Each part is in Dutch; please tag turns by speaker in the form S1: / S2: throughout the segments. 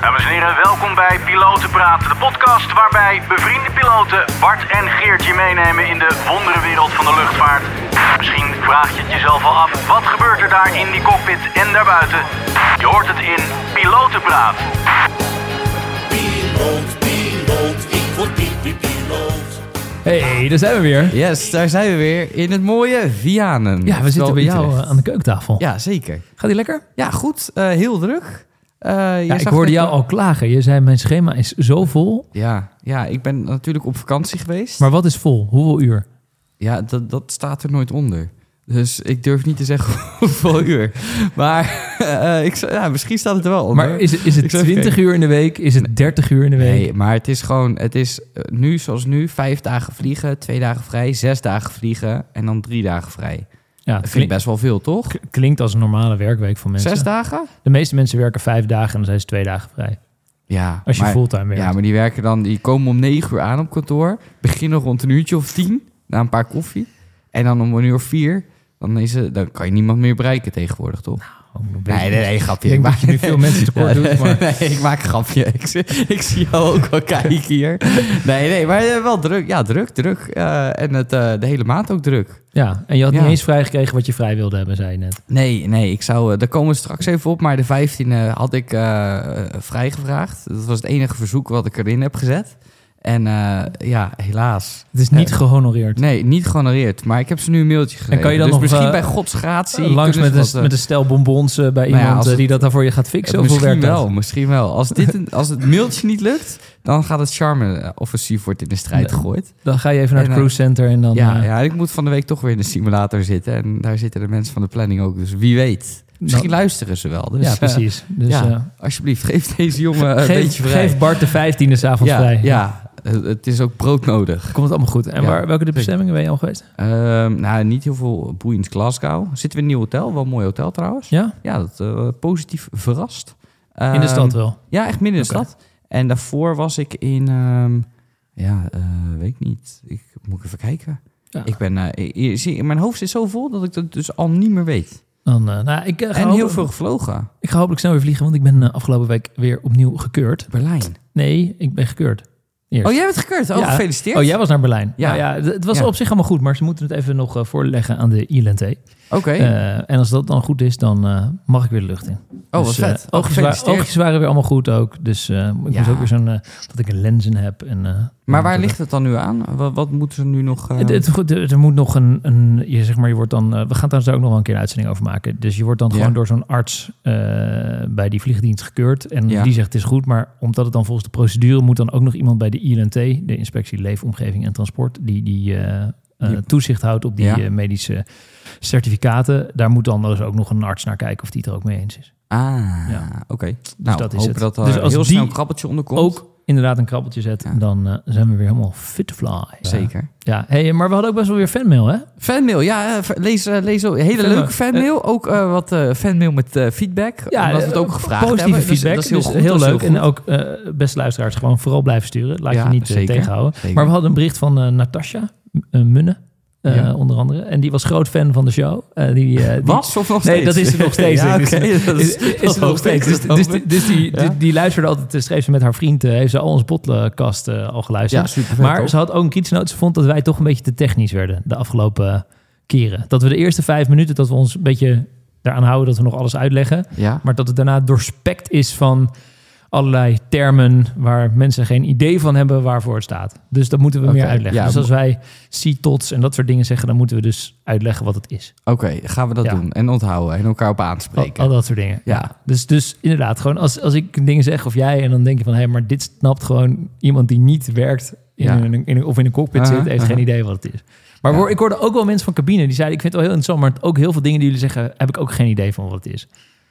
S1: Dames en heren, welkom bij Pilotenpraat, de podcast waarbij bevriende piloten Bart en Geert je meenemen in de wonderenwereld van de luchtvaart. Misschien vraag je het jezelf al af, wat gebeurt er daar in die cockpit en daarbuiten? Je hoort het in Pilotenpraat.
S2: Piloot, piloot, ik word pipi-piloot.
S3: Hey, daar zijn we weer.
S4: Yes, daar zijn we weer in het mooie Vianen.
S3: Ja, we
S4: Oftewel
S3: zitten bij jou
S4: Utrecht.
S3: eh, aan de keukentafel.
S4: Ja, zeker.
S3: Gaat die lekker?
S4: Ja, goed. eh, heel druk. Eh, je
S3: Ja, ik
S4: zag
S3: hoorde
S4: net-
S3: jou al klagen. Je zei, mijn schema is zo vol.
S4: Ja, ja, ik ben natuurlijk op vakantie geweest.
S3: Maar wat is vol? Hoeveel uur?
S4: Ja, dat, dat staat er nooit onder. Dus ik durf niet te zeggen hoeveel uur. Maar eh, ik, zou- ja, misschien staat het er wel onder.
S3: Maar is het, is het
S4: Ik zeg
S3: 20 uur in de week? Is het 30 uur in de week?
S4: Nee, maar het is gewoon... Het is eh, nu zoals nu vijf dagen vliegen, twee dagen vrij, zes dagen vliegen en dan drie dagen vrij.
S3: ja, het
S4: Dat vind ik
S3: klink-
S4: best wel veel, toch?
S3: k- klinkt als een normale werkweek voor mensen.
S4: Zes dagen?
S3: De meeste mensen werken vijf dagen en dan zijn ze twee dagen vrij.
S4: Ja.
S3: Als je
S4: maar-
S3: fulltime werkt.
S4: Ja, maar die werken dan, die komen om negen uur aan op kantoor, beginnen rond een uurtje of tien, na een paar koffie. En dan om een uur of vier, dan, is het, dan kan je niemand meer bereiken tegenwoordig, toch?
S3: Oh, een beetje-
S4: Nee, nee, nee, grapje.
S3: Ik denk dat je nu veel mensen tekort
S4: Ja,
S3: doet, maar-
S4: Nee, ik maak een grapje. Ik, zie- ik zie jou ook wel kijken hier. Nee, nee, maar eh, wel druk. Ja, druk, druk. Eh, en het, eh, de hele maand ook druk.
S3: Ja, en je had
S4: Ja.
S3: niet eens vrijgekregen wat je vrij wilde hebben, zei je net.
S4: Nee, nee, ik zou, eh, daar komen we straks even op. Maar de 15e had ik eh, eh, vrijgevraagd. Dat was het enige verzoek wat ik erin heb gezet. En eh, ja, helaas.
S3: Het is niet
S4: Eh,
S3: gehonoreerd.
S4: Nee, niet gehonoreerd. Maar ik heb ze nu een mailtje gegeven.
S3: kan je dan
S4: dus
S3: nog,
S4: misschien
S3: eh,
S4: bij Gods gratie...
S3: Langs
S4: kunnen
S3: met
S4: ze wat,
S3: een,
S4: eh,
S3: met een stel bonbons eh, bij
S4: Nou ja,
S3: iemand
S4: als
S3: eh,
S4: het-
S3: die dat dan voor je gaat
S4: eh,
S3: fixen. of hoe
S4: Misschien
S3: werkt dat?
S4: wel, misschien wel. Als, dit een- als het mailtje niet lukt, dan gaat het charme-offensief wordt in de strijd
S3: Nee.
S4: gegooid.
S3: Dan ga je even naar het
S4: En, eh,
S3: cruise center en dan...
S4: ja,
S3: eh,
S4: ja, ik moet van de week toch weer in de simulator zitten. En daar zitten de mensen van de planning ook. Dus wie weet. Misschien
S3: Nou,
S4: luisteren ze wel. Dus,
S3: ja,
S4: eh,
S3: precies. Dus,
S4: ja,
S3: eh,
S4: alsjeblieft, geef deze jongen een
S3: geef,
S4: beetje vrij.
S3: geef Bart de 15e s'avonds
S4: ja,
S3: vrij.
S4: ja, eh, het is ook brood nodig.
S3: Komt het allemaal goed. En
S4: Ja,
S3: waar, welke de bestemmingen ben je al geweest?
S4: Ehm, nou, niet heel veel boeiend Glasgow. Zitten we in een nieuw hotel, wel een mooi hotel trouwens.
S3: Ja?
S4: Ja, dat eh, positief verrast.
S3: In de
S4: Ehm,
S3: stad wel.
S4: Ja, echt midden in de
S3: Oké.
S4: stad. En daarvoor was ik in, ehm, ja, eh, weet ik niet. Ik moet ik even kijken.
S3: Ja.
S4: Ik ben, eh, je- zie, mijn hoofd zit zo vol dat ik dat dus al niet meer weet.
S3: Dan, eh, nou, ik, eh, ga
S4: En heel
S3: hopelijk-
S4: veel gevlogen.
S3: ik ga hopelijk snel weer vliegen, want ik ben eh, afgelopen week weer opnieuw gekeurd.
S4: Berlijn.
S3: Nee, ik ben gekeurd. Eerst.
S4: Oh, jij bent gekeurd. Oh,
S3: Ja.
S4: gefeliciteerd.
S3: Oh, jij was naar Berlijn.
S4: Ja.
S3: Ja, ja het- het was
S4: Ja.
S3: op zich allemaal goed, maar ze moeten het even nog eh, voorleggen aan de ILNT.
S4: Oké.
S3: Eh, en als dat dan goed is, dan eh, mag ik weer de lucht in.
S4: oh, wat
S3: Dus, eh,
S4: vet. Oh,
S3: oogjes, waren,
S4: gefeliciteerd.
S3: oogjes waren weer allemaal goed ook. Dus eh, ik
S4: Ja.
S3: moest ook weer zo'n... eh, dat ik een lens in heb. En, eh,
S4: Maar waar
S3: dat-
S4: ligt het dan nu aan? Wat, wat moeten ze nu nog... eh,
S3: Het, het- goed, er er moet nog een, een je, zeg maar, je wordt dan, eh, we gaan daar zo ook nog wel een keer een uitzending over maken. Dus je wordt dan
S4: Ja.
S3: gewoon door zo'n arts eh, bij die vliegdienst gekeurd. En
S4: Ja.
S3: die zegt het is goed, maar omdat het dan volgens de procedure moet dan ook nog iemand bij de ILNT, de Inspectie Leefomgeving en Transport, die, die eh, eh,
S4: Die-
S3: toezicht houdt op die
S4: Ja.
S3: eh, medische certificaten. Daar moet dan dus ook nog een arts naar kijken of die het er ook mee eens is.
S4: Ah,
S3: Ja.
S4: oké. nou,
S3: dat is
S4: hopen
S3: het.
S4: dat er
S3: Dus als
S4: heel snel
S3: die
S4: een krabbeltje onderkomt.
S3: Ook inderdaad een krabbeltje zet,
S4: Ja.
S3: dan eh, zijn we weer helemaal fit to fly.
S4: Zeker.
S3: Ja, hey, maar we hadden ook best wel weer fanmail, hè?
S4: Fanmail, ja, eh, ver- lees, eh, lees ook. Hele
S3: Fanmail.
S4: leuke fanmail. ook eh, wat eh, fanmail met eh, feedback. Ja, omdat we het ook
S3: eh,
S4: gevraagd
S3: positieve
S4: hebben. Dus
S3: feedback,
S4: dat is heel, goed,
S3: heel
S4: dat is
S3: leuk.
S4: goed.
S3: En ook, eh, beste luisteraars, gewoon vooral blijven sturen. Laat
S4: Ja,
S3: je niet eh,
S4: zeker,
S3: tegenhouden.
S4: zeker.
S3: Maar we hadden een bericht van eh, Natasja eh, Munne, eh,
S4: Ja.
S3: onder andere. En die was groot fan van de show. Eh, die, eh, die-
S4: Was of nog steeds?
S3: Nee, dat is ze nog steeds.
S4: ja,
S3: Dus-
S4: oké, dat
S3: Is, is, ze nog steeds. Dus, dus, die- dus die,
S4: Ja.
S3: die, die luisterde altijd, eh, schreef ze met haar vriend, eh, heeft ze al onze podcast eh, al
S4: ja,
S3: geluisterd.
S4: super
S3: maar ze had ook een kritische noot. Ze vond dat wij toch een beetje te technisch werden de afgelopen eh, keren. Dat we de eerste vijf minuten, dat we ons een beetje daaraan houden dat we nog alles uitleggen.
S4: Ja,
S3: Maar dat het daarna doorspekt is van allerlei termen waar mensen geen idee van hebben waarvoor het staat. Dus dat moeten we
S4: Oké,
S3: meer uitleggen.
S4: ja.
S3: dus als wij C-tots en dat soort dingen zeggen, dan moeten we dus uitleggen wat het is.
S4: oké, gaan we dat
S3: Ja. Oh,
S4: doen. En onthouden en elkaar op
S3: Al,
S4: aanspreken.
S3: al dat soort dingen.
S4: Ja.
S3: Dus, dus inderdaad, gewoon als, als ik dingen zeg of jij en dan denk je van hé, maar dit snapt gewoon iemand die niet werkt in
S4: Ja.
S3: een, in een- of in een cockpit
S4: Aha,
S3: zit, heeft
S4: aha.
S3: geen idee wat het is. Maar
S4: Ja.
S3: hoor, ik hoorde ook wel mensen van cabine die zeiden, ik vind het wel heel interessant, maar ook heel veel dingen die jullie zeggen, heb ik ook geen idee van wat het is.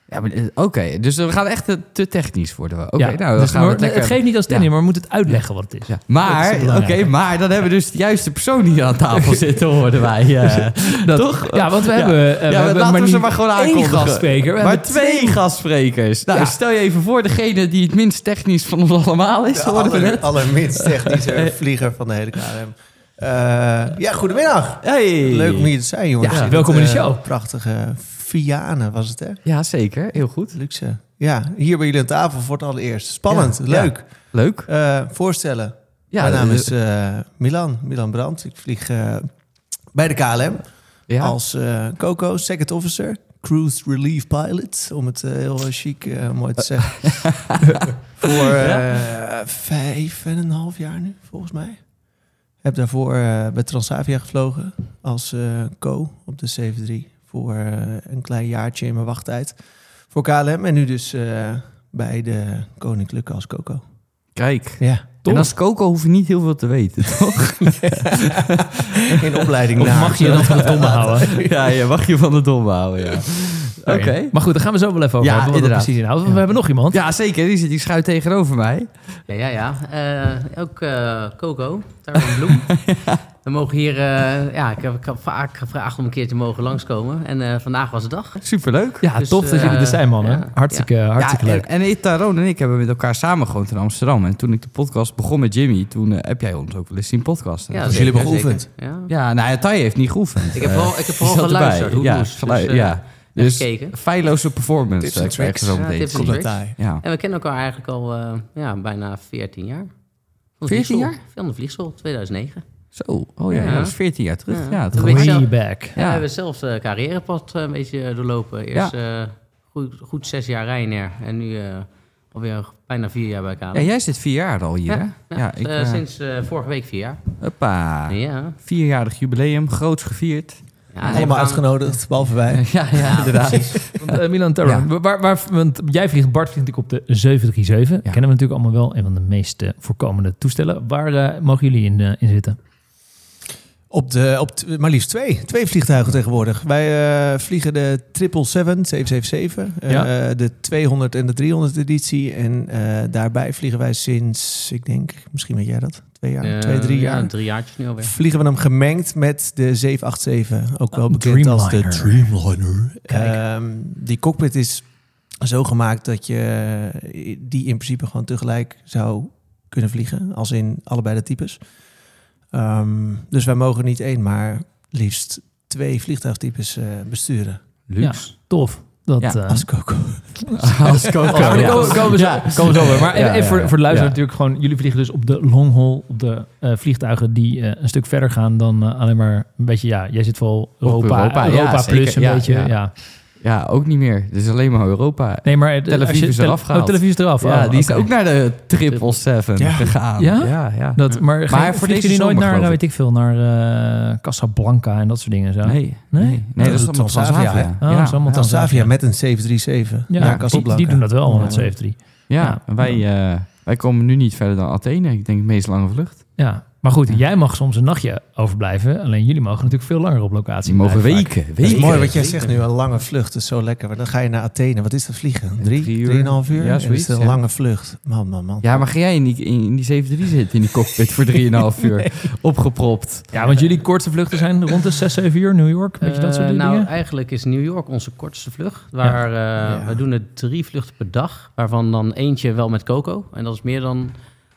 S4: Ja, maar, eh, oké, dus we gaan echt eh, te technisch worden. we. Oké,
S3: Ja.
S4: nou,
S3: Dus
S4: dan gaan we
S3: maar
S4: het
S3: het,
S4: lekker...
S3: geeft niet als tennis, maar we moeten het uitleggen wat het is.
S4: Ja.
S3: Dat
S4: Maar,
S3: is
S4: oké,
S3: belangrijk.
S4: maar dan hebben we dus de juiste persoon hier aan tafel zitten, hoorden wij. eh.
S3: Dat-
S4: Toch?
S3: Ja, want we hebben, eh, we
S4: ja,
S3: hebben
S4: laten
S3: maar
S4: we ze
S3: niet
S4: maar gewoon
S3: één
S4: aankondigen.
S3: gastspreker, we
S4: maar
S3: hebben
S4: twee, gastsprekers. Nou,
S3: Ja.
S4: stel je even voor, degene die het minst technisch van ons allemaal is,
S5: De
S4: hoorden we
S5: aller-
S4: net.
S5: allerminst technische vlieger van de hele KLM. Eh, ja, goedemiddag.
S4: Hey.
S5: Leuk om hier te zijn, jongens.
S3: Ja,
S5: Ik vind
S3: welkom in de
S5: het, eh,
S3: show.
S5: prachtige Vianen was het, hè?
S4: Ja, zeker. Heel goed.
S5: Luxe. Ja, hier bij jullie aan tafel voor het allereerst. Spannend,
S4: Ja,
S5: leuk.
S4: Leuk.
S5: Eh, voorstellen.
S4: Ja,
S5: Mijn naam
S4: eh,
S5: is eh, Milan, Milan Brandt. Ik vlieg eh, bij de KLM
S4: ja.
S5: als eh, Coco, second officer. Cruise Relief Pilot, om het eh, heel eh, chic eh, mooi te zeggen. Voor eh, vijf en een half jaar nu, volgens mij. Heb daarvoor eh, bij Transavia gevlogen als eh, co op de 73 voor eh, een klein jaartje in mijn wachttijd voor KLM. En nu dus eh, bij de Koninklijke als Coco.
S4: Kijk.
S5: Ja,
S4: En als Coco hoef je niet heel veel te weten, toch?
S5: in opleiding
S3: Of
S5: na.
S3: mag je dat van de domme houden?
S4: ja, je mag je van de dom houden, ja. Oké.
S3: Maar goed, daar gaan we zo wel even over hebben.
S4: Ja,
S3: Wat dat
S4: inderdaad.
S3: precies inhoudt. Want we hebben nog iemand.
S4: Ja, zeker. Die zit die schuit tegenover mij.
S6: Ja, ja, ja. Eh, ook eh, Coco, Tarwin Bloem. We mogen hier... eh, ja, ik heb, ik heb vaak gevraagd om een keer te mogen langskomen. En eh, vandaag was de dag.
S4: Superleuk.
S3: Ja,
S6: Dus,
S3: tof dat
S6: eh,
S3: jullie er zijn, mannen.
S6: ja.
S3: hartstikke hartstikke
S4: Ja,
S3: leuk.
S4: En, en Taron en ik hebben met elkaar samen gewoond in Amsterdam. En toen ik de podcast begon met Jimmy, toen eh, heb jij ons ook wel eens zien podcasten.
S6: Ja,
S5: Dus
S6: zeker,
S5: jullie hebben
S6: zeker.
S5: geoefend?
S6: Ja.
S4: ja, nou ja, Tai heeft niet geoefend.
S6: Ik heb
S4: Eh,
S6: vooral, ik heb
S4: die
S6: vooral
S4: zat erbij.
S6: geluisterd hoe het
S4: ja,
S6: moest. Dus,
S4: gelui-
S6: eh,
S4: ja. Dus
S6: gekeken.
S4: feilloze performance.
S5: Tips en
S4: eh, krijg je
S5: tricks.
S4: zo
S6: Ja,
S4: meteen.
S6: tips en
S4: Komt
S6: tricks.
S4: het-
S5: Commentaar.
S4: Ja.
S6: En we kennen elkaar eigenlijk al eh, ja, bijna 14 jaar. Van de
S4: 14
S6: Vliesel. Van de Vliesel, 2009.
S4: Zo, oh ja,
S6: Ja.
S4: dat is 14 jaar terug.
S6: Ja.
S4: Ja, het
S6: Doe
S4: gaat-
S6: ik zelf.
S3: Way back.
S6: Ja.
S4: Ja.
S6: we hebben zelfs eh carrièrepad eh, een beetje eh, doorlopen. Eerst eh, goed, goed zes jaar Ryanair en nu eh, alweer bijna vier jaar bij KLM.
S4: Ja, jij zit vier jaar al hier, hè? Ja, ik...
S6: eh,
S4: eh,
S6: sinds eh, vorige week vier jaar.
S4: hoppa.
S6: Ja.
S4: Vierjarig jubileum, groots gevierd.
S6: Ja, en we
S5: Allemaal
S6: gaan-
S5: uitgenodigd, behalve wij.
S4: Ja, ja, inderdaad.
S3: Want, eh, Milan Terror,
S4: Ja.
S3: waar, waar, want jij vliegt, Bart vliegt natuurlijk op de 737. Kennen we natuurlijk allemaal wel. Een van de meest eh, voorkomende toestellen. Waar eh, mogen jullie in, eh, in zitten?
S5: Op de, op t- maar liefst twee. Twee vliegtuigen tegenwoordig. Wij eh, vliegen de 777, 777 eh, de 200 en de 300 editie. En eh, daarbij vliegen wij sinds, ik denk, misschien weet jij dat, twee jaar,
S6: eh,
S5: twee, drie
S6: ja,
S5: jaar.
S6: drie jaartjes nu alweer.
S5: Vliegen we hem gemengd met de 787, ook wel
S3: Oh,
S5: bekend als de
S3: Dreamliner.
S5: Dreamliner.
S3: Kijk.
S5: Ehm, die cockpit is zo gemaakt dat je eh, die in principe gewoon tegelijk zou kunnen vliegen, als in allebei de types. Ehm, dus wij mogen niet één, maar liefst twee vliegtuigtypes eh, besturen.
S4: Luxe.
S3: Tof. Dat,
S4: Ja,
S3: eh,
S5: Als Coco.
S4: Als Coco.
S3: Oh, maar
S4: ja.
S3: daar komen, komen we zo, komen we zo weer. Maar
S4: Ja,
S3: even
S4: ja,
S3: Ah, voor,
S4: ja.
S3: voor de luisteraar
S4: Ja.
S3: natuurlijk gewoon... Jullie vliegen dus op de long haul, op de eh, vliegtuigen die eh, een stuk verder gaan dan eh, alleen maar een beetje... Ja, jij zit vooral Europa, Europa,
S4: Europa, ja, zeker.
S3: plus een
S4: Ja,
S3: beetje. Ja.
S4: ja. Ja, ook niet meer. Dus alleen maar Europa.
S3: Nee, maar het-
S4: Tel Aviv
S3: als je-
S4: is
S3: tel-
S4: eraf
S3: oh,
S4: gehaald.
S3: Tel Aviv is eraf.
S4: ja,
S3: oh,
S4: die is
S3: oké.
S4: ook naar de 777
S5: Ja.
S4: gegaan.
S3: Ja?
S4: ja. ja.
S3: Dat, maar maar
S4: voor
S3: voor jullie
S4: deze
S3: nooit
S4: zomer,
S3: naar,
S4: geloof
S3: eh,
S4: ik.
S3: weet ik veel, naar eh, Casablanca en dat soort dingen. Zo.
S4: Nee,
S3: Nee?
S4: nee. Nee, dat is
S5: doet
S4: allemaal
S5: Transavia,
S4: Transavia.
S5: hè?
S4: Ja.
S3: Oh, dat is allemaal
S5: Transavia met een 737.
S3: Ja,
S5: naar
S3: die,
S5: Casablanca.
S3: die doen dat wel allemaal met
S4: Ja.
S3: 73.
S4: Ja,
S3: Ja.
S4: en wij, eh, wij komen nu niet verder dan Athene. Ik denk de meest lange vlucht.
S3: Ja. Maar goed, jij mag soms een nachtje overblijven. Alleen jullie mogen natuurlijk veel langer op locatie
S4: Die mogen
S3: blijven vaak.
S4: weken, weken.
S5: Dat is mooi wat jij zegt nu, een lange vlucht. Dat is zo lekker. Want dan ga je naar Athene. Wat is dat vliegen? Drie,
S4: Drie uur.
S5: drieënhalf uur?
S4: Ja,
S5: En dat
S4: zoiets,
S5: is een
S4: ja.
S5: lange vlucht. Man, man, man.
S4: Ja, maar ga jij in die, in die 73 zitten, in die cockpit voor 3,5 uur? Opgepropt.
S3: Ja, want jullie kortste vluchten zijn rond de 6, 7 uur New York. Weet je dat soort
S6: Eh,
S3: dingen?
S6: nou, eigenlijk is New York onze kortste vlucht. Waar, eh,
S5: Ja.
S6: We doen er drie vluchten per dag, waarvan dan eentje wel met Coco. En dat is meer dan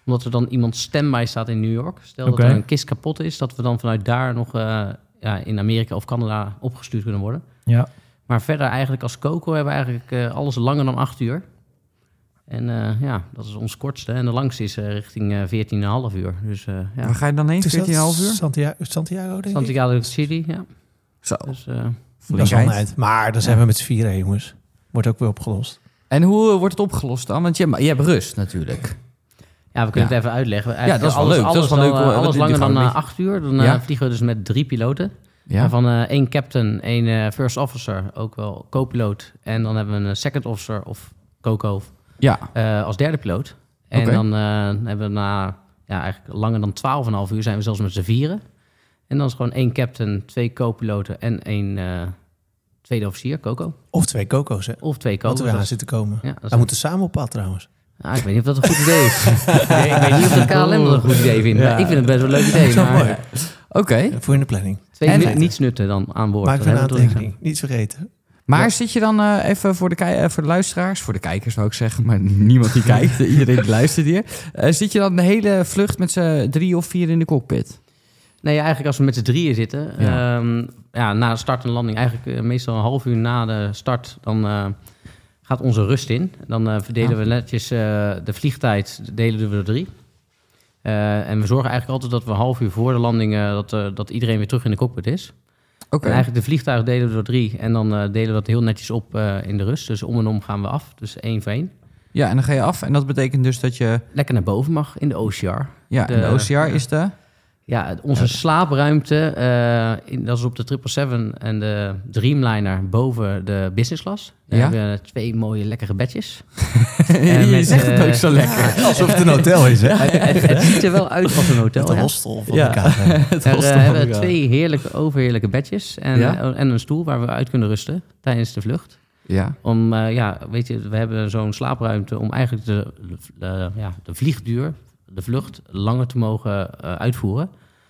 S6: omdat er dan iemand standby staat in New York. Stel
S3: Oké.
S6: dat er een kist kapot is, dat we dan vanuit daar nog eh, ja, in Amerika of Canada opgestuurd kunnen worden.
S3: Ja.
S6: Maar verder eigenlijk als Coco hebben we eigenlijk eh, alles langer dan 8 uur. En eh, ja, dat is ons kortste. En de langste is eh, richting eh 14,5 uur. Dus eh ja,
S4: Waar ga je dan heen?
S5: Het
S4: 14,5
S5: is dat
S4: uur?
S5: Santiago, Santiago denk ik.
S6: Santiago City, ja.
S4: Zo,
S6: Dus, eh,
S5: Dat is wel
S4: flinkheid.
S5: net. Maar dan zijn we met z'n vieren, jongens. Wordt ook weer opgelost.
S4: En hoe eh, wordt het opgelost dan? Want je, je hebt rust natuurlijk.
S6: Ja, we kunnen
S4: Ja.
S6: het even uitleggen.
S4: Ja, dat is wel
S6: alles,
S4: leuk. Dat is
S6: alles
S4: wel
S6: dan,
S4: leuk,
S6: eh,
S4: hoor. Want
S6: Alles
S4: die
S6: langer
S4: gaan
S6: dan
S4: een
S6: eh,
S4: beetje-
S6: acht uur. Dan eh,
S4: Ja.
S6: vliegen we dus met drie piloten.
S4: Ja.
S6: Waarvan eh, één captain, één eh, first officer, ook wel co-piloot. En dan hebben we een second officer of coco
S4: ja.
S6: eh, als derde piloot. En
S4: Oké.
S6: dan eh, hebben we na ja, eigenlijk langer dan 12,5 uur zijn we zelfs met z'n vieren. En dan is gewoon één captain, twee co-piloten en één eh, tweede officier, coco.
S5: Of twee coco's, hè?
S6: Of twee
S5: Wat er weer aan
S6: coco's.
S5: zit te komen.
S6: Ja, dat is
S5: Wij moeten samen op pad, trouwens.
S6: Ah, ik weet niet of dat een goed idee is. Nee, ik weet niet of de KLM dat een goed idee vindt. Maar ik vind het best wel een leuk idee.
S5: Zo
S6: Maar,
S5: mooi.
S4: Oké.
S5: Voor in de planning.
S6: Twee
S4: En-
S6: ni- niets nutten dan aan boord.
S5: Maak
S6: Dat
S5: even een
S6: hebben we toch
S5: aantekening. Niet vergeten.
S4: Maar zit je dan eh, even voor de, kei- eh, voor de luisteraars, voor de kijkers zou ik zeggen, maar niemand die kijkt, iedereen die luistert hier. Eh, zit je dan de hele vlucht met z'n drie of vier in de cockpit?
S6: gezegd. Nee, eigenlijk als we met z'n drieën zitten.
S4: Ja.
S6: Ja. ja, na start en landing, eigenlijk eh, meestal een half uur na de start, dan eh, gaat onze rust in. Dan eh, verdelen we netjes eh, de vliegtijd, delen we door drie. Eh, en we zorgen eigenlijk altijd dat we een half uur voor de landing, eh, dat, eh, dat iedereen weer terug in de cockpit is.
S4: Oké.
S6: En eigenlijk de vliegtuig delen we door drie en dan eh, delen we dat heel netjes op eh, in de rust. Dus om en om gaan we af, dus één voor één.
S4: Ja, en dan ga je af. En dat betekent dus dat je...
S6: Lekker naar boven mag in de OCR.
S4: Ja,
S6: De-
S4: en de OCR is de...
S6: Ja, onze slaapruimte, eh, in, dat is op de 777 en de Dreamliner boven de business class. Daar
S4: Ja?
S6: hebben we twee mooie lekkere bedjes.
S4: je
S6: met,
S4: zegt het
S6: eh,
S4: ook zo lekker.
S5: Alsof het een hotel is, hè?
S6: het, het ziet er wel uit als een
S5: Het
S6: hotel. ja.
S5: hostel van
S4: Ja.
S5: de KV.
S4: Het
S6: Er
S4: was
S6: eh,
S4: toch
S6: hebben we
S4: wel-
S6: twee heerlijke, overheerlijke bedjes en,
S4: Ja?
S6: eh, en een stoel waar we uit kunnen rusten tijdens de vlucht.
S4: Ja,
S6: Om, eh, ja, weet je, we hebben zo'n slaapruimte om eigenlijk de, de- ja, de vliegduur, de vlucht, langer te mogen eh, uitvoeren.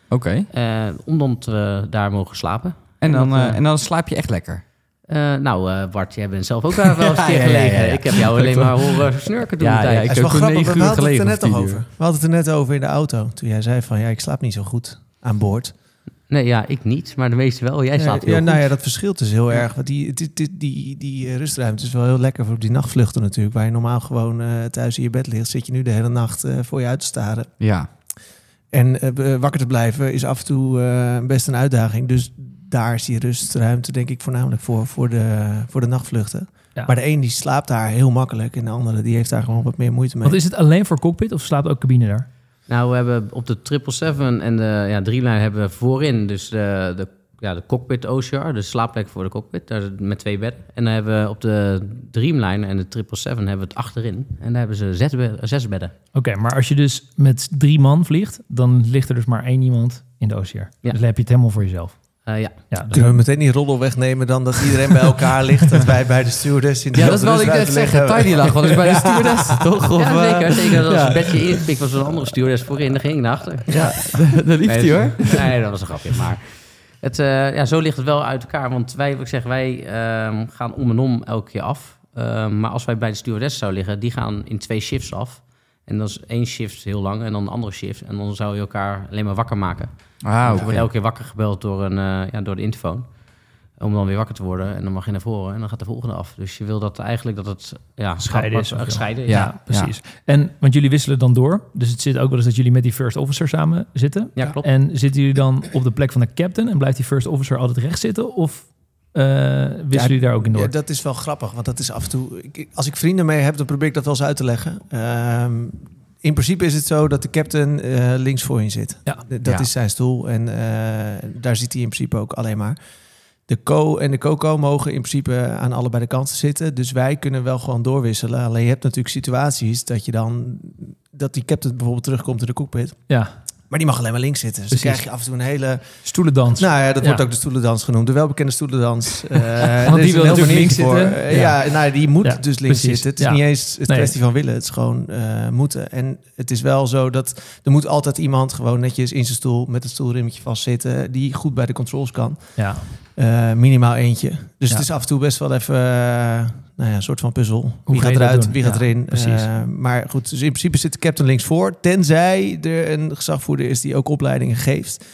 S4: oké.
S6: Eh, omdat we daar mogen slapen.
S4: En, dan,
S6: Dat, eh,
S4: eh, en dan slaap je echt lekker.
S6: Eh, nou, eh, Bart, jij bent zelf ook daar wel eens een keer
S4: Ja, ja, ja,
S6: gelegen.
S4: ja.
S6: Ik heb jou alleen maar horen snurken doen.
S4: Ja,
S6: Ja,
S4: ja,
S5: Het
S4: ik-
S5: is wel
S4: heb gewoon
S5: grappig,
S4: negen
S5: we
S4: uur
S5: hadden het er
S4: gelegen
S5: net
S4: of
S5: al
S4: tien
S5: over. We hadden het er net over in de auto. Toen jij zei van, ja, ik slaap niet zo goed aan boord.
S6: Nee, ja, ik niet, maar de meeste wel. Jij
S5: ja,
S6: slaapt heel
S5: ja,
S6: goed.
S5: nou ja, dat verschilt dus heel erg. Want die, die, die, die, die, eh, rustruimte is wel heel lekker voor op die nachtvluchten natuurlijk. Waar je normaal gewoon eh, thuis in je bed ligt, zit je nu de hele nacht eh, voor je uit te staren.
S4: Ja,
S5: En eh, be- wakker te blijven is af en toe eh, best een uitdaging. Dus daar is die rustruimte denk ik voornamelijk voor, voor de, voor de nachtvluchten.
S3: Ja.
S5: Maar de een die slaapt daar heel makkelijk en de andere die heeft daar gewoon wat meer moeite mee.
S3: Want is het alleen voor cockpit of slaapt ook cabine daar?
S6: Nou, we hebben op de 777 en de ja, Dreamliner hebben we voorin dus de, de, ja, de cockpit OCR, de slaapplek voor de cockpit, daar met twee bedden. En dan hebben we op de Dreamliner en de 777 hebben we het achterin. En daar hebben ze zes, be- zes bedden.
S3: Oké, maar als je dus met drie man vliegt, dan ligt er dus maar één iemand in de OCR. Dus dan heb je het helemaal voor jezelf.
S6: Eh, ja,
S3: Ja, dus-
S5: Kunnen we meteen die roddel wegnemen dan dat iedereen bij elkaar ligt? Dat wij bij de stewardess in de
S4: ja dat is wel wat ik net
S5: rustruimte
S4: zeg.
S5: liggen.
S4: Tiny lag wel eens bij de stewardess, toch? Of,
S6: ja
S4: eh,
S6: zeker. zeker dat als het bedje ingepikt was door een andere stewardess voorin, dan ging ik naar achter.
S4: Ja, dat lief hij
S6: nee,
S4: hoor.
S6: dat- Nee, dat was een grapje. Maar het, eh, ja, zo ligt het wel uit elkaar. Want wij, wat ik zeg, wij ehm, gaan om en om elke keer af. Ehm, maar als wij bij de stewardess zouden liggen, die gaan in twee shifts af. En dan is één shift heel lang en dan een andere shift. En dan zou je elkaar alleen maar wakker maken.
S4: Ah,
S6: We
S4: oké.
S6: worden elke keer wakker gebeld door, een, eh, ja, door de interfoon. Om dan weer wakker te worden. En dan mag je naar voren en dan gaat de volgende af. Dus je wil dat eigenlijk dat het ja,
S3: Gescheiden is of zo.
S6: gescheiden is.
S4: Ja,
S3: precies. En want jullie wisselen dan door. Dus het zit ook wel eens dat jullie met die first officer samen zitten.
S6: Ja, klopt.
S3: En zitten jullie dan op de plek van de captain en blijft die first officer altijd recht zitten? Of eh, wisselen jullie daar ook in door?
S5: Ja, dat is wel grappig, want dat is af en toe... ik- ik- als ik vrienden mee heb, dan probeer ik dat wel eens uit te leggen. Ehm, in principe is het zo dat de captain eh, links voor je zit.
S3: Ja.
S5: Dat
S4: Ja.
S5: is zijn stoel en eh, daar zit hij in principe ook alleen maar. De co en de coco mogen in principe aan allebei de kanten zitten. Dus wij kunnen wel gewoon doorwisselen. Alleen je hebt natuurlijk situaties dat je dan... dat die captain bijvoorbeeld terugkomt in de cockpit.
S3: ja,
S5: Maar die mag alleen maar links zitten. Dus
S3: Precies.
S5: dan krijg je af en toe een hele...
S3: stoelendans.
S5: Nou ja, dat
S3: Ja.
S5: wordt ook de stoelendans genoemd. De welbekende stoelendans. Eh, er
S3: wil
S5: is een heel
S3: natuurlijk
S5: veel
S3: links
S5: voor.
S3: zitten.
S5: Eh, ja. nou, die moet
S3: Ja,
S5: dus links
S3: precies.
S5: zitten. Het is
S3: Ja.
S5: niet eens het
S3: Nee.
S5: kwestie van willen. Het is gewoon eh, moeten. En het is wel zo dat er moet altijd iemand gewoon netjes in zijn stoel... met het stoelrimmetje vastzitten... die goed bij de controls kan.
S3: Ja.
S5: Eh, minimaal eentje. Dus
S3: Ja.
S5: het is af en toe best wel even... eh, nou ja, een soort van puzzel. Wie
S3: ga
S5: gaat
S3: je dat
S5: eruit,
S3: doen?
S5: wie gaat
S3: Ja,
S5: erin?
S3: precies.
S5: Eh, maar goed, dus in principe zit de captain links voor. Tenzij er een gezagvoerder is die ook opleidingen geeft.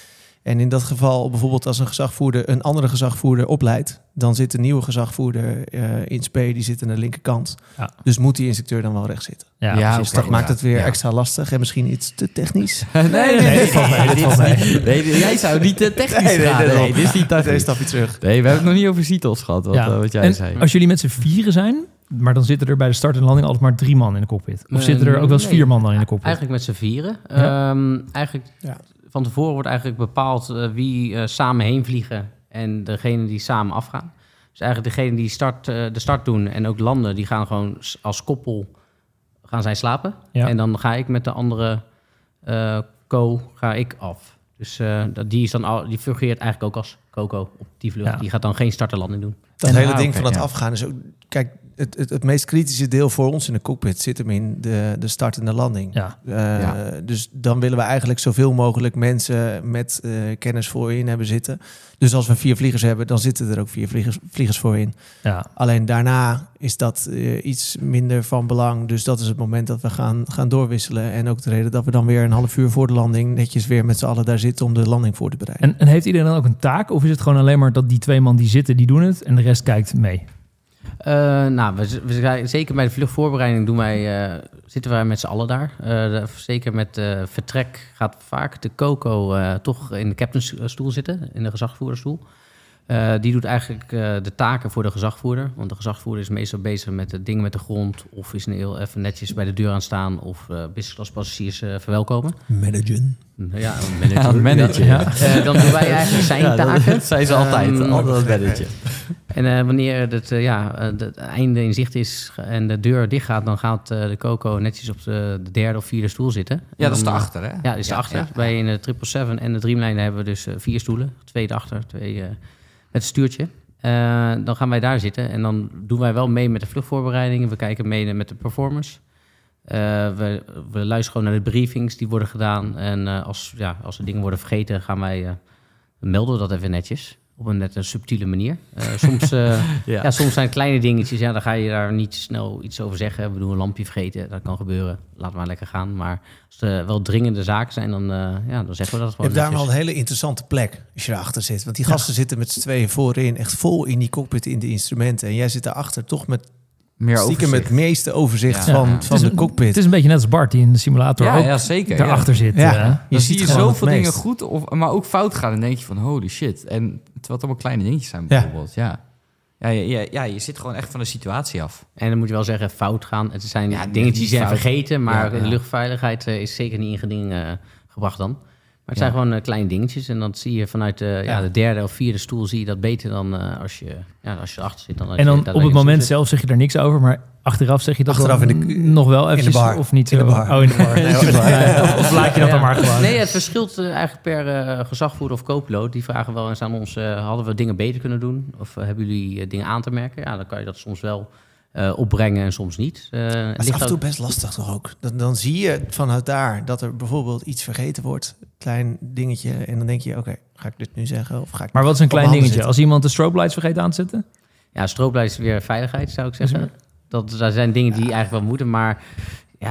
S5: En in dat geval, bijvoorbeeld als een gezagvoerder een andere gezagvoerder opleidt, dan zit de nieuwe gezagvoerder eh, in SP, die zit aan de linkerkant.
S3: Ja.
S5: Dus moet die instructeur dan wel recht zitten.
S3: Ja,
S4: Ja,
S3: precies.
S4: oké.
S5: Dat maakt het weer
S4: Ja.
S5: extra lastig en misschien iets te technisch.
S4: Nee, nee, nee.
S3: dit valt mee, dit valt mee.
S4: Nee, jij zou niet eh, technisch gaan. Nee, dit is niet
S5: Deze
S4: technisch.
S5: stapje
S4: Nee,
S5: terug.
S4: we hebben het nog niet over CITOS gehad, wat,
S3: Ja.
S4: eh, wat jij
S3: en
S4: zei.
S3: Als jullie met z'n vieren zijn, maar dan zitten er bij de start en landing altijd maar drie man in de cockpit. Of
S6: Eh,
S3: zitten er ook wel eens
S6: nee.
S3: vier man dan in de cockpit?
S6: Eigenlijk met z'n vieren.
S3: Ja.
S6: Ehm, eigenlijk
S5: Ja.
S6: van tevoren wordt eigenlijk bepaald eh, wie eh, samen heen vliegen en degene die samen afgaan. Dus eigenlijk degene die start, eh, de start doen en ook landen, die gaan gewoon s- als koppel gaan zij slapen.
S3: Ja.
S6: En dan ga ik met de andere eh, co ga ik af. Dus eh, dat- die, is dan al, die fungeert eigenlijk ook als Coco op die vlucht.
S3: Ja.
S6: Die gaat dan geen start en landing doen.
S5: Dat
S3: En-
S5: hele
S4: ah,
S5: ding
S4: oké,
S5: van het
S4: ja.
S5: afgaan is ook. Kijk, het, het, het meest kritische deel voor ons in de cockpit zit hem in de, de start en de landing.
S3: Ja,
S5: Eh,
S4: Ja.
S5: Dus dan willen we eigenlijk zoveel mogelijk mensen met eh, kennis voorin hebben zitten. Dus als we vier vliegers hebben, dan zitten er ook vier vliegers, vliegers voorin.
S3: ja.
S5: Alleen daarna is dat eh, iets minder van belang. Dus dat is het moment dat we gaan, gaan doorwisselen. En ook de reden dat we dan weer een half uur voor de landing netjes weer met z'n allen daar zitten om de landing voor te bereiden.
S3: En, en heeft iedereen dan ook een taak? Of is het gewoon alleen maar dat die twee man die zitten, die doen het en de rest kijkt mee?
S6: Eh, nou, we, z- we zijn, zeker bij de vluchtvoorbereiding doen wij, eh, zitten wij met z'n allen daar. Eh, de- zeker met eh, vertrek gaat vaak de Coco eh, toch in de captainsstoel zitten, in de gezagvoerderstoel. Eh, die doet eigenlijk eh, de taken voor de gezagvoerder. Want de gezagvoerder is meestal bezig met de dingen met de grond. Of is een heel even netjes bij de deur aan staan. Of eh business class passagiers eh, verwelkomen.
S5: Managen.
S6: Ja,
S4: Ja,
S6: manager.
S4: manager.
S3: Ja.
S6: Eh, dan doen wij eigenlijk zijn
S4: dat,
S6: taken.
S4: dat zijn ze altijd.
S6: Ehm,
S4: altijd dat belletje.
S6: En eh, wanneer het, eh, ja, eh, het einde in zicht is en de deur dicht gaat, dan gaat eh, de Coco netjes op de, de derde of vierde stoel zitten. En
S4: Ja, dat is de
S6: dan, eh,
S4: achter, hè?
S6: Ja, dat is de achter.
S4: ja.
S6: Bij in de 777 en de Dreamliner hebben we dus eh, vier stoelen. Twee erachter, twee eh, met een stuurtje. Eh, dan gaan wij daar zitten en dan doen wij wel mee met de vluchtvoorbereidingen. We kijken mee met de performance. Eh, we, we luisteren gewoon naar de briefings die worden gedaan. En eh, als, ja, als er dingen worden vergeten, gaan wij, eh, melden we dat even netjes. Op een net een subtiele manier. Eh, soms, eh, ja.
S4: Ja.
S6: soms zijn het kleine dingetjes. Ja, dan ga je daar niet snel iets over zeggen. We doen een lampje vergeten. Dat kan gebeuren. Laat maar lekker gaan. Maar als het eh, wel dringende zaken zijn, dan, eh, ja, dan zeggen we dat
S5: Je
S6: gewoon.
S5: hebt daar wel
S6: netjes.
S5: een hele interessante plek als je erachter zit. Want die gasten zitten met z'n tweeën voorin, echt vol in die cockpit in de instrumenten. En jij zit daarachter toch met
S4: Meer
S5: stiekem
S4: overzicht.
S5: het meeste overzicht
S4: Ja.
S5: van,
S4: Ja.
S5: van
S3: Het is
S5: de
S3: een-
S5: cockpit.
S3: Het is een beetje net als Bart die in de simulator
S4: Ja,
S3: ook
S4: ja, zeker. ja.
S3: daarachter zit.
S5: Ja.
S3: eh.
S5: Je
S4: dan
S5: ziet
S4: zie je
S5: gewoon het
S4: zoveel dingen
S5: meest.
S4: goed, of, maar ook fout gaan. En denk je van, holy shit. En terwijl het allemaal kleine dingetjes zijn bijvoorbeeld. Ja. Ja. Ja, ja, ja, je zit gewoon echt van de situatie af.
S6: En dan moet je wel zeggen, fout gaan. Het zijn
S4: Ja,
S6: dingetjes die
S4: niet
S6: zijn
S4: fout.
S6: vergeten. Maar
S4: Ja, ja.
S6: de luchtveiligheid eh, is zeker niet in geding eh, gebracht dan. Maar het zijn gewoon eh, kleine dingetjes. En dat zie je vanuit eh, ja.
S5: Ja.
S6: de derde of vierde stoel zie je dat beter dan eh, als, je, ja, als je erachter zit. Dan als
S3: En
S6: je
S3: dan
S6: daar
S3: op het
S6: links
S3: moment
S6: zit.
S3: zelf zeg je daar niks over, maar achteraf zeg je dat
S5: Achteraf
S3: dan
S5: in de-
S3: nog wel eventjes
S5: bar.
S3: of niet.
S5: In de
S3: zo.
S5: bar.
S3: Oh, in de bar.
S5: Nee,
S3: Of-
S5: in de bar.
S3: nee, Of laat je dat dan maar gewoon.
S6: Nee, het verschilt eh, eigenlijk per eh, gezagvoerder of co-piloot. Die vragen wel eens aan ons, eh, hadden we dingen beter kunnen doen? Of eh, hebben jullie eh, dingen aan te merken? Ja, dan kan je dat soms wel eh, opbrengen en soms niet. Eh,
S5: Maar het is
S6: ligt
S5: af en toe
S6: ook-
S5: best lastig toch ook. Dan, dan zie je vanuit daar dat er bijvoorbeeld iets vergeten wordt. Klein dingetje. En dan denk je, oké, ga ik dit nu zeggen? Of ga ik
S3: Maar wat is een
S5: op mijn
S3: klein dingetje?
S5: handen zitten?
S3: Als iemand de strobe lights vergeet aan te zetten?
S6: Ja, strooplijst is weer veiligheid, zou ik
S5: Mhm.
S6: zeggen. Dat, daar zijn dingen die eigenlijk wel moeten, maar... Ja,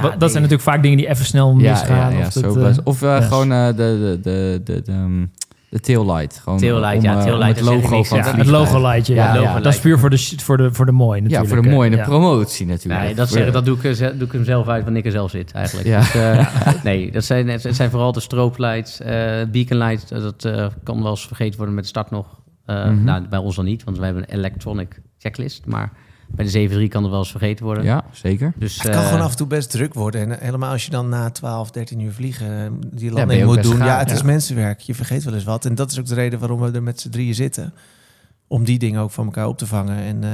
S3: Wa- dat zijn
S6: dingen-
S3: natuurlijk vaak dingen die even snel misgaan. of dat,
S4: zo
S3: eh,
S4: best. Of eh,
S3: ja.
S4: gewoon eh, de, de, de, de, de, ehm, de taillight. Gewoon
S6: Taillight,
S4: om,
S6: ja,
S4: eh, om
S6: taillight,
S4: het
S6: dat zeg ik
S4: logo
S6: niks,
S4: van
S6: ja.
S4: het
S3: ja, het
S4: vliegtuig.
S3: logo lightje. Ja,
S6: Ja,
S3: logo
S6: ja.
S3: Dat is puur voor de, sh- voor de, voor de mooi
S4: Ja,
S3: natuurlijk.
S4: voor de mooie en de
S3: Ja.
S4: promotie natuurlijk.
S6: Nee, dat,
S4: Voor
S6: zeggen,
S4: de-
S6: dat doe, ik, eh, ze- doe ik hem zelf uit wanneer ik er zelf zit, eigenlijk.
S4: Ja.
S6: Dus, eh, nee, dat zijn, het zijn vooral de strooplights, eh beaconlights. eh, Dat eh, kan wel eens vergeten worden met de start nog. Eh,
S4: Mhm.
S6: nou, bij ons dan niet, want wij hebben een electronic checklist. Maar bij de 7-3 kan het wel eens vergeten worden.
S4: Ja, zeker.
S6: Dus,
S5: Het kan
S6: eh,
S5: gewoon af en toe best druk worden. En eh, helemaal als je dan na 12, 13 uur vliegen eh, die
S4: ben
S5: landing
S4: je ook
S5: moet
S4: best
S5: doen.
S4: gaar,
S5: ja, het
S4: ja.
S5: is mensenwerk. Je vergeet wel eens wat. En dat is ook de reden waarom we er met z'n drieën zitten. Om die dingen ook van elkaar op te vangen. En eh,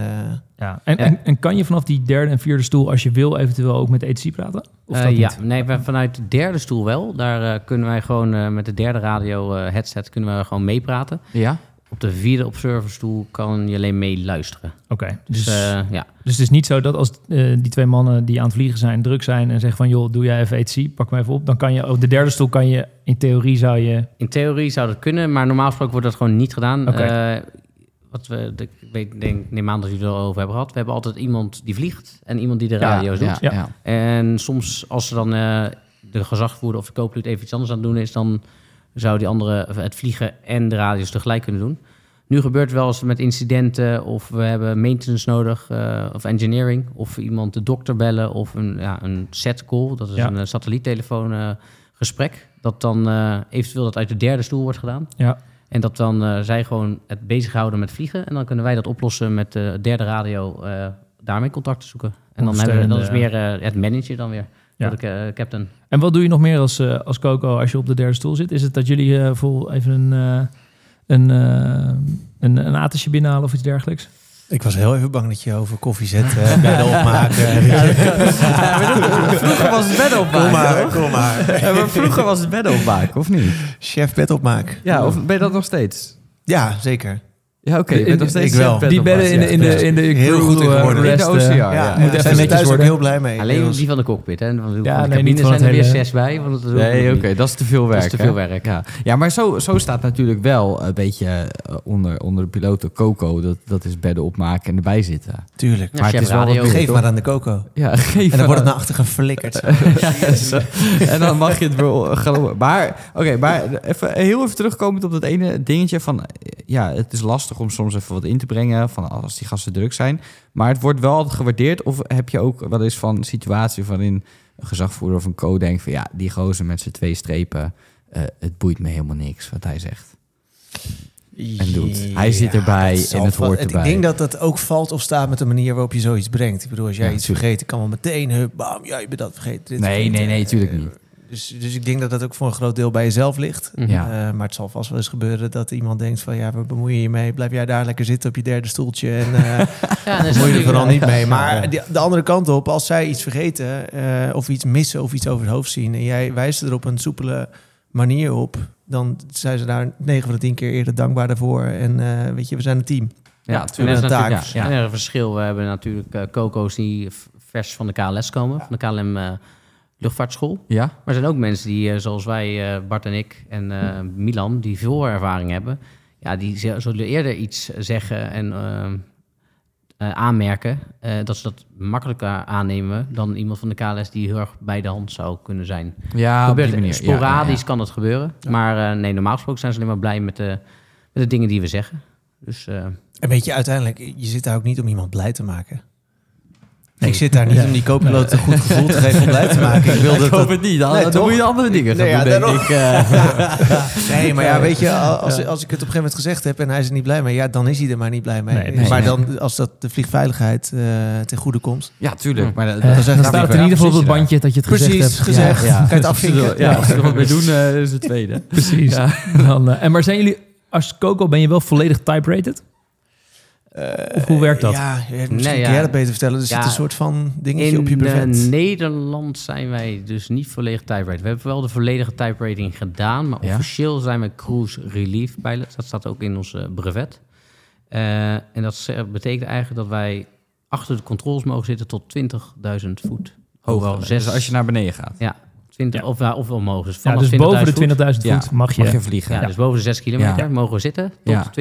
S3: Ja. En, en, en kan je vanaf die derde en vierde stoel, als je wil, eventueel ook met de ETC praten? Of
S6: eh,
S3: dat
S6: ja,
S3: niet?
S6: nee, we- vanuit de derde stoel wel. Daar eh, kunnen wij gewoon eh, met de derde radio eh, headset kunnen we gewoon meepraten.
S4: Ja,
S6: Op de vierde observerstoel kan je alleen mee luisteren.
S3: Oké,
S6: Dus,
S3: dus,
S6: eh, ja.
S3: dus het is niet zo dat als eh, die twee mannen die aan het vliegen zijn druk zijn en zeggen van joh, doe jij even ETC, pak me even op. Dan kan je op de derde stoel kan je, in theorie zou je...
S6: In theorie zou dat kunnen, maar normaal gesproken wordt dat gewoon niet gedaan.
S3: Oké.
S6: Eh, wat we, de- ik weet, denk, neem aan dat jullie het al over hebben gehad. We hebben altijd iemand die vliegt en iemand die de radio
S4: ja,
S6: doet.
S3: Ja.
S4: Ja, ja.
S6: En soms als ze dan eh, de gezagvoerder of de co-piloot even iets anders aan het doen is, dan zou die andere eh, het vliegen en de radio's tegelijk kunnen doen. Nu gebeurt het wel eens met incidenten of we hebben maintenance nodig eh, of engineering. Of iemand de dokter bellen of een, ja, een set call, dat is
S3: Ja.
S6: een eh, satelliettelefoon eh, gesprek. Dat dan eh, eventueel dat uit de derde stoel wordt gedaan.
S3: Ja,
S6: En dat dan eh, zij gewoon het bezighouden met vliegen. En dan kunnen wij dat oplossen met de derde radio. eh, daarmee contact te zoeken. En dan hebben we, dat is meer
S3: Ondersteunende,
S6: eh, het manager dan weer.
S3: Ja.
S6: Voor de eh, captain.
S3: En wat doe je nog meer als, eh, als Coco als je op de derde stoel zit? Is het dat jullie eh, vol even een, eh, een, eh, een, een atertje binnenhalen of iets dergelijks?
S5: ik was heel even bang dat je over koffiezet eh, bij de opmaken.
S4: Vroeger was het bed
S5: Kom
S4: opmaken.
S5: maar, kom maar.
S4: Ja, maar vroeger was het bed opmaken, of niet?
S5: Chef bed opmaken.
S4: Ja, of ben je dat nog steeds?
S5: Ja, zeker.
S4: Ja, oké. je bent
S5: In-
S4: nog steeds
S5: ik wel.
S4: een pet
S3: Die
S4: op
S3: bedden
S4: af,
S3: in,
S4: ja.
S3: de- in de, in de
S5: Heel
S3: crew,
S5: goed in
S3: eh,
S5: geworden.
S4: In
S3: rest,
S4: de
S3: eh,
S4: OCR, Ah, ja.
S5: ja,
S3: moet
S5: ja,
S3: even
S5: zijn ze
S3: netjes
S5: thuis ook
S3: worden.
S5: heel blij mee.
S6: Alleen
S5: Inmiddels.
S6: die van de cockpit. Hè? Van de,
S3: Ja,
S6: van
S3: nee,
S6: de cabine
S3: niet van
S6: zijn
S3: het
S6: er weer
S3: hele-
S6: zes bij. Want dat
S4: Nee, oké, dat is te veel werk.
S6: Dat is te veel
S4: hè?
S6: werk.
S4: Ja, ja maar zo, zo staat natuurlijk wel een beetje eh, onder, onder de piloten Coco. Dat, dat is bedden opmaken en erbij zitten.
S5: Tuurlijk.
S6: Ja,
S4: Maar het
S6: chef
S4: is wel
S6: radio.
S4: wat
S5: Geef
S4: toch?
S5: maar aan de coco.
S4: Ja, geef
S5: En dan
S4: maar.
S5: wordt het naar achter geflikkerd.
S4: Ja, zo. en dan mag je het wel geloven. Maar, oké, maar even, heel even terugkomend op dat ene dingetje van... eh, Ja, het is lastig om soms even wat in te brengen van als die gasten druk zijn. Maar het wordt wel altijd gewaardeerd. Of heb je ook wel eens van situatie waarin een gezagvoerder of een co denkt van... Ja, die gozer met zijn twee strepen, eh, het boeit me helemaal niks wat hij zegt. En doet. Hij zit erbij
S5: dat zal
S4: en het
S5: wel-
S4: hoort erbij.
S5: Ik denk dat dat ook valt of staat met de manier waarop je zoiets brengt. Ik bedoel, als jij
S4: Ja,
S5: iets
S4: tuurlijk.
S5: vergeet, kan wel meteen, hup, bam, ja, je bent dat vergeten. dit
S4: Nee,
S5: vergeten.
S4: nee, nee, tuurlijk
S5: Eh,
S4: niet.
S5: Dus, dus ik denk dat dat ook voor een groot deel bij jezelf ligt.
S4: Ja.
S5: Eh, maar het zal vast wel eens gebeuren dat iemand denkt van... ja, we bemoeien je mee, blijf jij daar lekker zitten op je derde stoeltje... en eh
S6: Ja, dat
S5: bemoei je
S6: is
S5: er
S6: natuurlijk-
S5: vooral niet mee. Maar die- de andere kant op, als zij iets vergeten... eh, of iets missen of iets over het hoofd zien... en jij wijst er op een soepele manier op... dan zijn ze daar 9 van de 10 keer eerder dankbaar daarvoor. En eh, weet je, we zijn een team.
S4: Ja,
S6: En er
S4: tuurlijk.
S6: is
S5: Een
S6: natuurlijk
S5: taak.
S4: Ja, ja.
S6: en er is een verschil. We hebben natuurlijk eh, coco's die v- vers van de KLS komen, van de KLM eh, luchtvaartschool.
S4: Ja,
S6: Maar er zijn ook mensen die, eh, zoals wij, eh, Bart en ik en eh, Milan, die veel ervaring hebben. Ja, die z- zullen eerder iets zeggen en eh, eh, aanmerken. eh, dat ze dat makkelijker aannemen dan iemand van de KLS die heel erg bij de hand zou kunnen zijn.
S4: ja Ah, op die
S6: Gebeurt-
S4: manier. Ja, ja, ja.
S6: Sporadisch kan dat gebeuren. Maar eh, nee, normaal gesproken zijn ze alleen maar blij met de, met de dingen die we zeggen. Dus eh,
S5: En weet je, uiteindelijk, je zit daar ook niet om iemand blij te maken. Ik zit daar niet om die co-piloot een goed gevoel te geven om blij te maken. Ik wil dat
S4: Ik
S5: dat-
S4: hoop het niet. Dan,
S5: Nee,
S4: dan
S5: toch?
S4: moet je andere dingen gaan
S5: Nee, ja,
S4: doen, denk
S5: daarom.
S4: ik. eh.
S5: Nee, maar ja, weet je, als, als ik het op een gegeven moment gezegd heb en hij is er niet blij mee, ja, dan is hij er maar niet blij mee.
S3: Nee, nee,
S5: maar
S4: nee.
S5: dan, als dat de vliegveiligheid eh, ten goede komt.
S4: Ja, tuurlijk. Maar dat,
S3: eh,
S4: dat is echt
S3: dan staat het in ieder geval op het
S4: precies,
S3: bandje dat je het gezegd
S5: Precies,
S3: hebt.
S5: gezegd.
S3: Ja,
S5: Kan je het afvinken?
S4: Ja, ja, als ze er wat mee doen, eh, is het tweede.
S3: precies. Dan, eh, en maar zijn jullie, als Coco ben je wel volledig type-rated? Of hoe werkt dat?
S5: Ja, ja, misschien
S6: Nee,
S5: kun
S6: ja.
S5: jij dat beter vertellen. Er zit
S6: Ja,
S5: een soort van dingetje
S6: in
S5: op je
S6: eh,
S5: brevet.
S6: Nederland zijn wij dus niet volledig type rated. We hebben wel de volledige type rating gedaan, maar
S4: Ja.
S6: officieel zijn we cruise relief pilots. Dat staat ook in ons eh, brevet. Eh, en dat ze- betekent eigenlijk dat wij achter de controles mogen zitten tot 20.000 voet. Hoewel
S4: Hoog. Dus als je naar beneden gaat.
S6: Ja, 20, Of, ja, of omhoog. Dus,
S3: Ja,
S6: vanaf
S3: dus boven
S6: 20.000 voet.
S3: de 20.000
S4: Ja,
S3: voet mag je.
S4: vliegen.
S6: Ja, dus boven de 6 kilometer
S4: Ja.
S6: mogen we zitten.
S4: Ja.
S6: Tot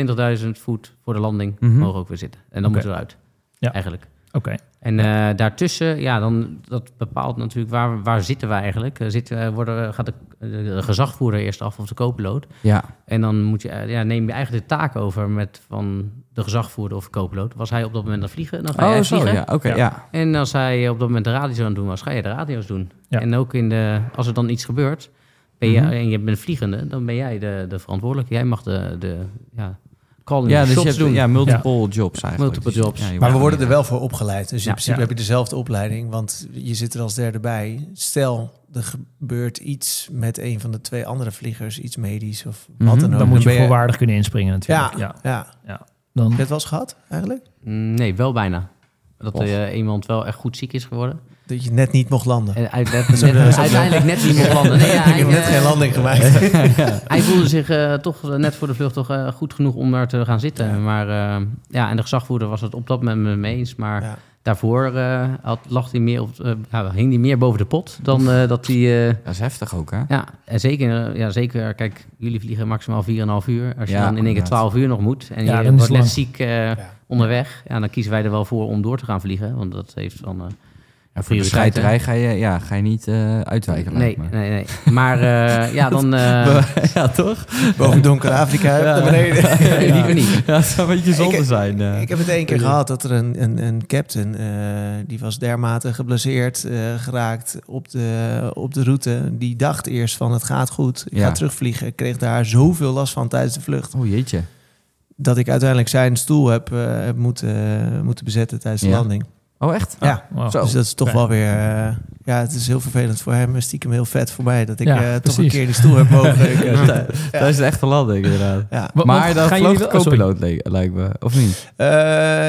S6: 20.000 voet voor de landing
S4: Mhm.
S6: mogen we ook weer zitten. En dan
S3: Oké.
S6: moeten we eruit,
S3: Ja.
S6: eigenlijk.
S3: Oké.
S6: En eh, daartussen, ja, dan, dat bepaalt natuurlijk waar, waar zitten we eigenlijk. Eh, Zitten, eh, worden, gaat de, de gezagvoerder eerst af of de co-piloot.
S4: Ja.
S6: En dan moet je, eh, ja, neem je eigenlijk de taak over met van de gezagvoerder of co-piloot. Was hij op dat moment aan het vliegen, dan ga jij
S4: Oh, zo.
S6: vliegen.
S4: Ja, Oh. oké.
S3: Ja.
S4: ja.
S6: En als hij op dat moment de radio aan het doen was, ga je de radio's doen.
S3: Ja.
S6: En ook in de, als er dan iets gebeurt ben je, en je bent vliegende, dan ben jij de, de verantwoordelijke. Jij mag de, de ja, calling
S4: Ja,
S6: the
S4: dus je
S6: shots
S4: hebt
S6: doen.
S4: ja, multiple jobs eigenlijk.
S6: Multiple jobs.
S4: Ja, je
S5: Maar we
S4: wordt-
S5: worden er wel voor opgeleid. Dus in
S6: Ja,
S5: principe
S3: ja.
S5: heb je dezelfde opleiding, want je zit er als derde bij. Stel, er gebeurt iets met een van de twee andere vliegers, iets medisch of wat
S4: Mhm,
S5: dan ook.
S3: Dan moet je
S5: ben
S3: voorwaardig kunnen inspringen natuurlijk.
S5: Ja,
S3: Ja.
S5: ja.
S3: Dan,
S5: Heb je het wel eens gehad eigenlijk?
S6: Mm, Nee, wel bijna. Dat eh, iemand wel echt goed ziek is geworden.
S5: Dat je net niet mocht landen.
S6: En uit- net- net- uiteindelijk net niet meer Eh, landen. Nee, ja,
S5: ik
S6: hij,
S5: heb net
S6: eh,
S5: geen landing gemaakt.
S6: Hij voelde zich eh, toch eh, net voor de vlucht toch eh, goed genoeg om daar te gaan zitten. Maar eh, ja, en de gezagvoerder was het op dat moment met me eens. Maar
S5: Ja.
S6: daarvoor eh, had, lag hij meer op, eh, ja, hing hij meer boven de pot dan eh, dat hij... eh,
S4: Dat is heftig ook, hè?
S6: ja, en zeker, eh, ja, zeker, kijk, jullie vliegen maximaal 4,5 uur. Als je
S4: Ja,
S6: dan in één keer
S4: inderdaad.
S6: 12 uur nog moet en
S3: Ja, dan is
S6: je
S3: het
S6: wordt net
S3: lang.
S6: ziek eh, onderweg, ja, dan kiezen wij er wel voor om door te gaan vliegen. Want dat heeft dan... eh,
S4: Ja, voor de
S6: prioriteiten.
S4: scheiterij ga je, ja, ga je niet eh, uitwijken,
S6: nee,
S4: lijkt me.
S6: nee, nee. Maar eh, ja, dan... eh,
S4: ja, toch?
S5: Boven donker Afrika. naar beneden.
S6: liever niet.
S4: Ja, het zou een beetje zonde
S5: Ik-
S4: zijn. eh.
S5: Ik heb het één keer gehad dat er een, een, een captain, eh, die was dermate geblesseerd eh, geraakt op de, op de route. Die dacht eerst van het gaat goed, ik
S4: Ja.
S5: ga terugvliegen. Ik kreeg daar zoveel last van tijdens de vlucht.
S4: Oh, jeetje.
S5: Dat ik uiteindelijk zijn stoel heb, eh, heb moeten, moeten bezetten tijdens de
S4: Ja.
S5: landing.
S4: Oh, echt?
S5: Ja,
S3: wow.
S4: Zo.
S5: dus dat is toch
S3: Ja.
S5: wel weer... eh, Ja, het is heel vervelend voor hem en stiekem heel vet voor mij... dat ik
S3: Ja,
S5: eh, toch een
S3: precies.
S5: keer die stoel heb mogen.
S4: Dat eh, is de echte landing, inderdaad.
S5: Ja.
S3: Wa-
S4: maar
S3: want
S4: dan
S3: gaan jullie
S4: vloog de
S3: wel- oh, sorry.
S4: co-piloot, leek- lijkt me. Of niet?
S5: Eh,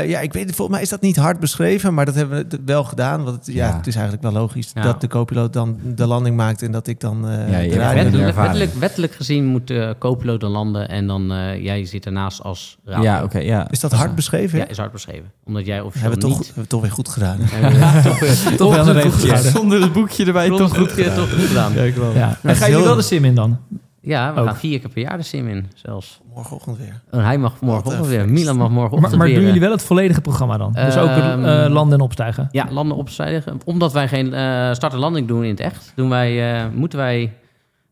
S5: ja, ik weet het. Volgens mij is dat niet hard beschreven, maar dat hebben we wel gedaan. Want het, ja,
S4: Ja.
S5: het is eigenlijk wel logisch
S6: Ja.
S5: dat de co-piloot dan de landing maakt en dat ik dan eh,
S4: Ja, je
S5: de
S4: bent
S5: radio-
S4: een
S6: Wettelijk,
S4: ervaring.
S6: wettelijk, wettelijk gezien moet eh, de co-piloot dan landen en dan eh, jij zit ernaast als
S4: Ja,
S6: raad.
S4: oké. ja.
S5: Is dat hard beschreven?
S6: Ja, is hard beschreven. Omdat jij officieel
S5: hebben we toch,
S6: niet...
S5: hebben we toch weer goed gedaan.
S3: Toch wel een regeltje.
S4: Ja, Zonder het boekje erbij
S6: Klopt,
S4: toch goed.
S6: eh, toch goed gedaan. Ja,
S4: Ja, klopt.
S3: Ja.
S5: is
S3: En gaan jullie
S5: heel-
S3: wel de sim in dan?
S6: we
S3: Ook.
S6: gaan vier keer per jaar de sim in zelfs.
S5: Morgenochtend weer.
S6: En hij mag morgen
S5: Wat
S6: weer.
S5: een
S6: Milan mag morgen
S3: Maar, maar doen jullie wel het volledige programma dan? Dus ook het, eh,
S6: Ehm,
S3: landen en opstijgen?
S6: Ja, landen opzijdigen. Omdat wij geen eh, start en landing doen in het echt, doen wij, eh, moeten wij,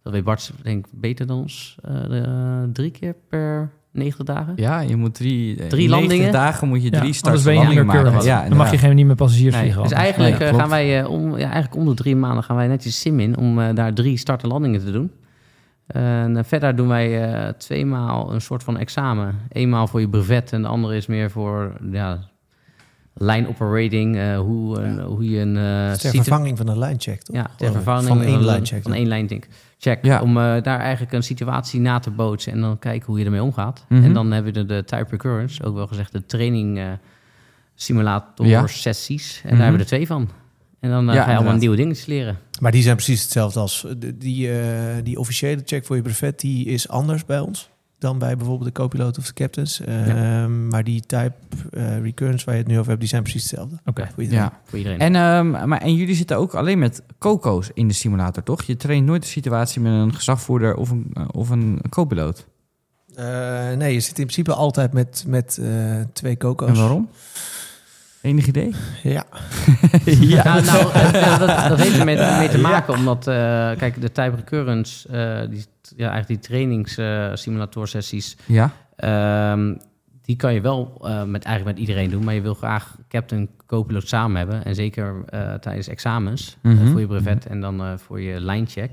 S6: dat weet Bart denk ik beter dan ons, eh, eh, drie keer per 90 dagen.
S4: Ja, je moet drie... eh, 90
S6: Drie landingen?
S4: dagen moet je
S3: Ja,
S4: drie
S3: anders
S4: starts
S3: ben
S4: en
S3: je niet
S4: landingen
S3: meer
S4: maken.
S3: current.
S4: Ja,
S3: dan mag je
S4: inderdaad.
S3: geen, niet meer passagiers
S6: Nee,
S3: vliegen.
S6: dus
S3: al.
S6: eigenlijk,
S4: Nee,
S6: eh,
S4: klopt.
S6: gaan wij, eh, om, ja, eigenlijk om de drie maanden gaan wij netjes sim in om eh, daar drie start en landingen te doen. En eh, verder doen wij eh, tweemaal een soort van examen. Eenmaal voor je brevet en de andere is meer voor ja, line operating. eh, hoe, een- hoe je een eh,
S5: Dus Ter
S6: situ-
S5: vervanging van een line check, toch?
S6: Ja, ter
S5: Gewoon
S6: vervanging
S5: Van één line check.
S6: Van één line check. check
S4: Ja.
S6: Om eh, daar eigenlijk een situatie na te bootsen en dan kijken hoe je ermee omgaat.
S4: Mhm.
S6: En dan hebben we de, de type recurrence, ook wel gezegd de training eh, simulator
S4: Ja.
S6: sessies. En
S4: Mhm.
S6: daar hebben we er twee van. En dan eh, ga je allemaal
S4: inderdaad.
S6: nieuwe dingetjes leren.
S5: Maar die zijn precies hetzelfde als... de- Die, eh, die officiële check voor je brevet, die is anders bij ons dan bij bijvoorbeeld de co-piloot of de captains. Ehm, Maar die type eh, recurrence waar je het nu over hebt, die zijn precies hetzelfde.
S3: Oké.
S5: Voor iedereen.
S4: Ja.
S6: Voor iedereen.
S4: En, ehm, maar, en jullie zitten ook alleen met coco's in de simulator, toch? Je traint nooit de situatie met een gezagvoerder of een, eh, of een co-piloot.
S5: Eh, nee, je zit in principe altijd met, met eh, twee coco's.
S4: En waarom? Enig idee?
S5: Ja.
S6: ja. Nou, nou, eh, ja, dat, dat heeft ermee mee te maken, omdat, eh, kijk, de type recurrence, eh, die, ja, eigenlijk die trainings eh, simulator sessies,
S4: Ja.
S6: Ehm, die kan je wel eh, met, eigenlijk met iedereen doen, maar je wil graag captain co-piloot samen hebben. En zeker eh, tijdens examens eh,
S4: Mhm.
S6: voor je brevet en dan eh, voor je lijncheck.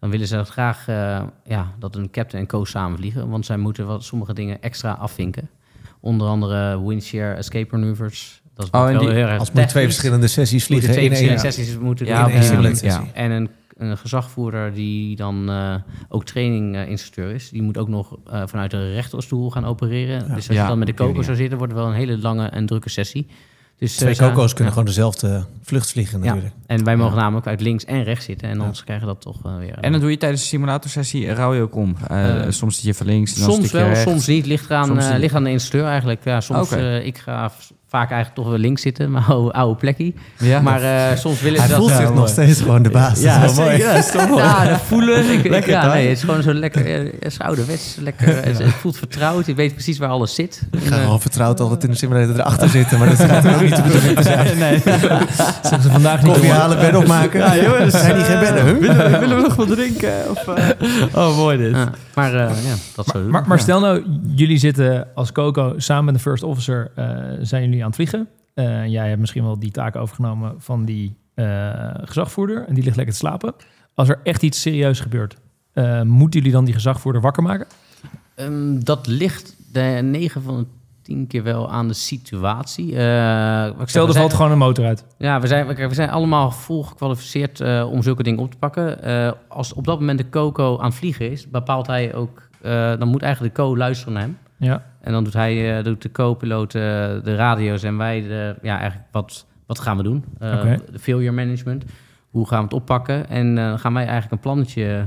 S6: Dan willen ze dat graag eh, ja, dat een captain en co samen vliegen, want zij moeten wel sommige dingen extra afvinken. Onder andere windshare, escape maneuvers. Dat is
S4: Oh, en
S6: wel
S4: die-
S6: heel
S5: Als
S6: erg
S5: moet twee
S6: technisch.
S5: verschillende sessies
S6: Moeten
S5: vliegen
S6: twee
S5: in één
S6: verschillende sessies moeten
S4: Ja,
S6: doen.
S4: op
S5: in
S4: die
S5: één
S4: manier,
S5: sessie.
S4: ja.
S6: En een, een gezagvoerder die dan eh, ook traininginstructeur is, die moet ook nog eh, vanuit de rechterstoel gaan opereren. Dus als
S4: Ja,
S6: je dan met de
S4: op die
S6: koker
S4: manier.
S6: zou zitten, wordt het wel een hele lange en drukke sessie. Dus,
S5: Twee
S6: eh, ze-
S5: coco's kunnen
S6: ja.
S5: gewoon dezelfde vlucht vliegen
S6: Ja.
S5: natuurlijk.
S6: En wij mogen namelijk uit links en rechts zitten. En anders krijgen we dat toch eh, weer.
S4: En dan doe je tijdens de simulatorsessie, rouw je ook om. Eh,
S6: Eh,
S4: soms zit je van links en dan
S6: soms
S4: stik je
S6: wel,
S4: rechts.
S6: soms niet. Ligt eraan,
S4: Soms
S6: eh,
S4: niet.
S6: ligt aan de instructeur eigenlijk. Ja, soms,
S4: Oké.
S6: eh, ik ga v- vaak eigenlijk toch wel links zitten, mijn oude, oude plekkie.
S4: Ja.
S6: Maar eh, soms willen
S5: Hij
S6: ze dat...
S5: voelt
S6: Ja,
S5: zich
S6: mooi.
S5: nog steeds gewoon de baas.
S4: ja,
S5: dat is wel mooi.
S4: zeker. Ja, dat is toch mooi.
S6: Ja, dat voelen. Ik, ik-
S4: Lekker,
S6: ja,
S4: toch?
S6: nee, het is gewoon zo lekker. eh, Het is ouderwets. Lekker, het, het voelt vertrouwd. Je weet precies waar alles zit.
S4: Oh,
S5: Ik ga gewoon vertrouwd altijd in de simulator erachter zitten, maar dat gaat er ook niet te bedoelen te zijn.
S3: Zeggen ze vandaag niet
S5: Koffie
S3: door.
S5: halen, bed opmaken. Ja, jongens. Zijn die geen bedden, huh?
S4: willen, we- willen we nog wat drinken? Of, eh? Oh, mooi dit.
S6: Ja, maar eh, ja, dat zo.
S3: Maar, maar stel nou, jullie zitten als Coco samen met de first officer, eh, zijn jullie aan het vliegen. Eh, jij hebt misschien wel die taak overgenomen van die eh, gezagvoerder en die ligt lekker te slapen. Als er echt iets serieus gebeurt, eh, moeten jullie dan die gezagvoerder wakker maken?
S6: Ehm, dat ligt de 9 van de 10 keer wel aan de situatie. Eh, wat ik zeg,
S3: Stel,
S6: we
S3: er
S6: zijn-
S3: valt gewoon een motor uit.
S6: Ja, we zijn, we zijn allemaal vol gekwalificeerd eh, om zulke dingen op te pakken. Eh, als op dat moment de Coco aan het vliegen is, bepaalt hij ook... eh, dan moet eigenlijk de Co luisteren naar hem.
S3: Ja.
S6: En dan doet hij, eh, doet de co-piloot eh, de radio's en wij de, ja, eigenlijk wat, wat gaan we doen? Eh,
S3: Oké.
S6: De failure management. Hoe gaan we het oppakken? En eh, dan gaan wij eigenlijk een plannetje